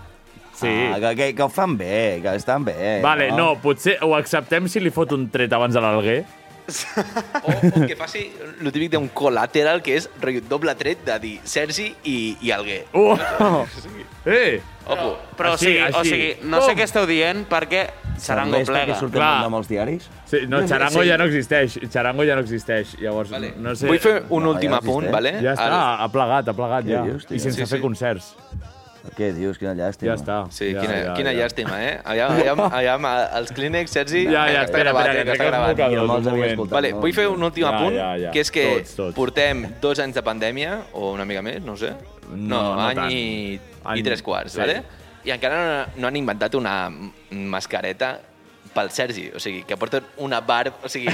Speaker 2: Sí.
Speaker 4: Ah, que, que, que ho fan bé, que estan bé.
Speaker 2: Vale, no, potser ho acceptem si li fot un tret abans de l'Alguer.
Speaker 6: o que faci el típic d'un col·lateral que és rotllo doble tret de dir Sergi i, i Alguer.
Speaker 2: Uh! Eh! Oh!
Speaker 6: Ojo.
Speaker 5: Però, o,
Speaker 6: Així,
Speaker 5: sigui, o
Speaker 6: així.
Speaker 5: sigui, no sé
Speaker 6: Com?
Speaker 5: què esteu dient perquè Charango
Speaker 2: Serveix perquè
Speaker 5: plega.
Speaker 2: surt el Clar. nom
Speaker 4: els diaris?
Speaker 2: Sí, no, Charango
Speaker 5: Sí.
Speaker 2: ja no existeix, Charango ja no existeix, llavors vale. no sé...
Speaker 6: Vull fer un últim apunt, vale?
Speaker 2: Ja està,
Speaker 6: Al-
Speaker 2: ha plegat, ha plegat ja,
Speaker 4: dius, tio?
Speaker 2: i sense
Speaker 4: Sí,
Speaker 2: sí,
Speaker 4: sí.
Speaker 2: fer concerts.
Speaker 4: Què dius? Quina llàstima.
Speaker 2: Ja està.
Speaker 6: Sí,
Speaker 2: ja,
Speaker 6: quina,
Speaker 2: ja,
Speaker 6: quina
Speaker 2: ja.
Speaker 6: llàstima, eh? Allà, allà, allà amb els clínics, Sergi...
Speaker 2: Ja, ja,
Speaker 6: que està
Speaker 2: espera,
Speaker 6: gravat,
Speaker 2: espera, que
Speaker 6: eh, està
Speaker 2: trec els
Speaker 6: gravat.
Speaker 2: mocadors, un moment.
Speaker 6: Vale, vull fer un últim
Speaker 2: Ja,
Speaker 6: apunt,
Speaker 2: ja, ja.
Speaker 6: que és que
Speaker 2: Tots, tots.
Speaker 6: portem dos anys de pandèmia, o una mica més, no ho sé.
Speaker 2: No, no
Speaker 6: any
Speaker 2: tant.
Speaker 6: i,
Speaker 2: Any-
Speaker 6: i tres quarts,
Speaker 2: sí.
Speaker 6: sí. vale? I encara no, no han inventat una mascareta pel Sergi, o sigui, que porten una barb... O sigui,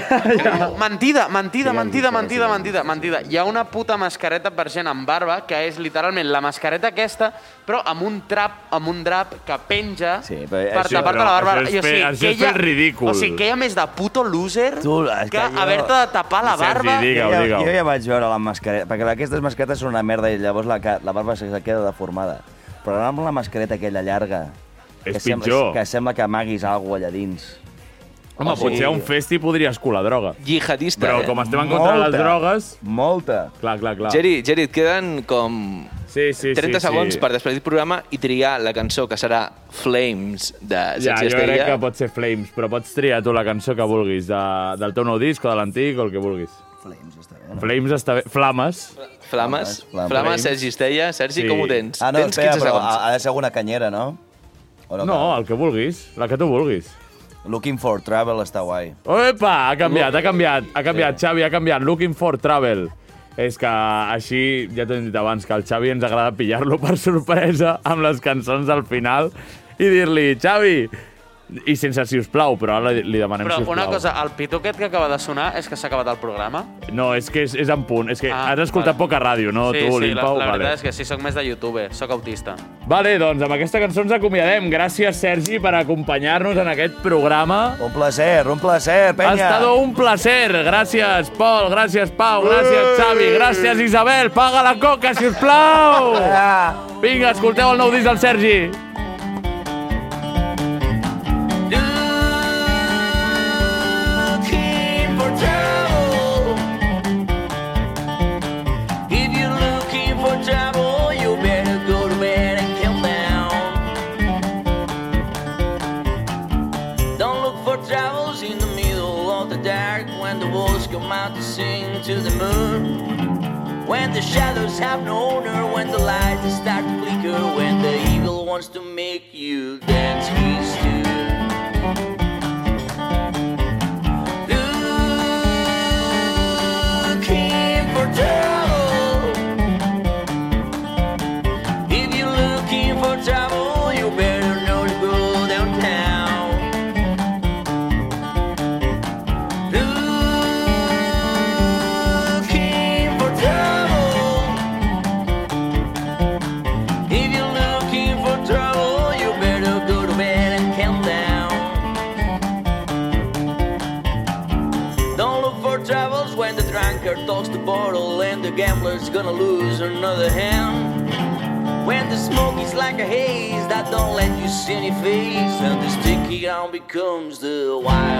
Speaker 5: Mentida, mentida, mentida, mentida, mentida, mentida. Hi ha una puta mascareta per gent amb barba que és literalment la mascareta aquesta, però amb un trap, amb un drap que penja sí,
Speaker 4: però
Speaker 5: per
Speaker 4: això-
Speaker 5: tapar-te
Speaker 4: però
Speaker 5: la barba.
Speaker 4: això és
Speaker 5: I,
Speaker 4: fer- això és
Speaker 5: que ella-
Speaker 4: fer ridícul.
Speaker 5: O sigui, que hi ha més de puto loser
Speaker 4: Tu, és
Speaker 5: que
Speaker 4: que jo-
Speaker 5: haver-te de tapar la barba.
Speaker 4: jo, ja- Jo ja vaig veure la mascareta, perquè aquestes mascaretes són una merda i llavors la, ca- la barba se queda deformada. Però anar amb la mascareta aquella llarga...
Speaker 2: És
Speaker 4: que sembla,
Speaker 2: pitjor.
Speaker 4: Que sembla que amaguis alguna cosa allà dins.
Speaker 2: Home,
Speaker 4: O sigui-
Speaker 2: potser a un festi podries colar droga.
Speaker 6: Jihadista,
Speaker 2: Però
Speaker 6: eh?
Speaker 2: com estem en contra de les
Speaker 6: Molta,
Speaker 2: drogues...
Speaker 4: Molta.
Speaker 2: Clar, clar, clar.
Speaker 6: Geri, Geri, et queden com
Speaker 2: sí, sí,
Speaker 6: 30
Speaker 2: sí,
Speaker 6: segons
Speaker 2: sí.
Speaker 6: per despedir el programa i triar la cançó que serà Flames de
Speaker 2: Ja,
Speaker 6: Sergi
Speaker 2: jo crec
Speaker 6: Estella.
Speaker 2: que pot ser Flames, però pots triar tu la cançó que vulguis, de, del teu nou disc o de l'antic o el que vulguis.
Speaker 4: Flames, està bé. No?
Speaker 2: Flames està bé. Flames.
Speaker 6: Flames. Flames, Sergi Estella. Sergi, com ho tens?
Speaker 4: Ah, no,
Speaker 6: tens
Speaker 4: espera,
Speaker 6: 15
Speaker 4: però
Speaker 6: segons.
Speaker 4: ha, ha de ser alguna canyera, no? O
Speaker 2: No, el que vulguis. La que tu vulguis.
Speaker 4: Looking for Travel està guai.
Speaker 2: Opa, ha canviat, ha canviat, ha canviat, Xavi, ha canviat. Looking for travel. És que així, ja t'ho hem dit abans, que el Xavi ens agrada pillar-lo per sorpresa amb les cançons al final i dir-li, Xavi, i sense si us plau, però ara li, li demanem
Speaker 8: Però
Speaker 2: si us
Speaker 8: una
Speaker 2: plau.
Speaker 8: cosa, el pitó aquest que acaba de sonar és que s'ha acabat el programa?
Speaker 2: No, és que és, és en punt. És que ah, has escoltat
Speaker 8: vale.
Speaker 2: poca ràdio, no?
Speaker 8: sí,
Speaker 2: tu,
Speaker 8: sí, la,
Speaker 2: Limpau?
Speaker 8: la
Speaker 2: vale.
Speaker 8: veritat és que sí, sóc més de youtuber, sóc autista.
Speaker 2: Vale, doncs amb aquesta cançó ens acomiadem. Gràcies, Sergi, per acompanyar-nos en aquest programa.
Speaker 4: Un placer, un placer,
Speaker 2: Ha
Speaker 4: penya.
Speaker 2: estado un placer. Gràcies, Pol, gràcies, Pau, gràcies, Xavi, gràcies, Isabel. Paga la coca, si us plau!
Speaker 4: Ah.
Speaker 2: Vinga, escolteu el nou disc del Sergi.
Speaker 5: Looking for trouble. If you're looking for trouble, you better go to bed and calm down. Don't look for troubles in the middle of the dark when the wolves come out to sing to the moon. When the shadows have no owner, when the lights start to flicker, when the evil wants to make you dance his tune. Looking for trouble. If you're looking for trouble, you better know to go downtown. Looking for trouble. If you're looking for trouble, you better go to bed and calm down. Don't look for troubles when the drunkard talks the bottle and the gambler's gonna lose another hand. When the smoke is like a haze that don't let you see any face and the sticky ground becomes the wild.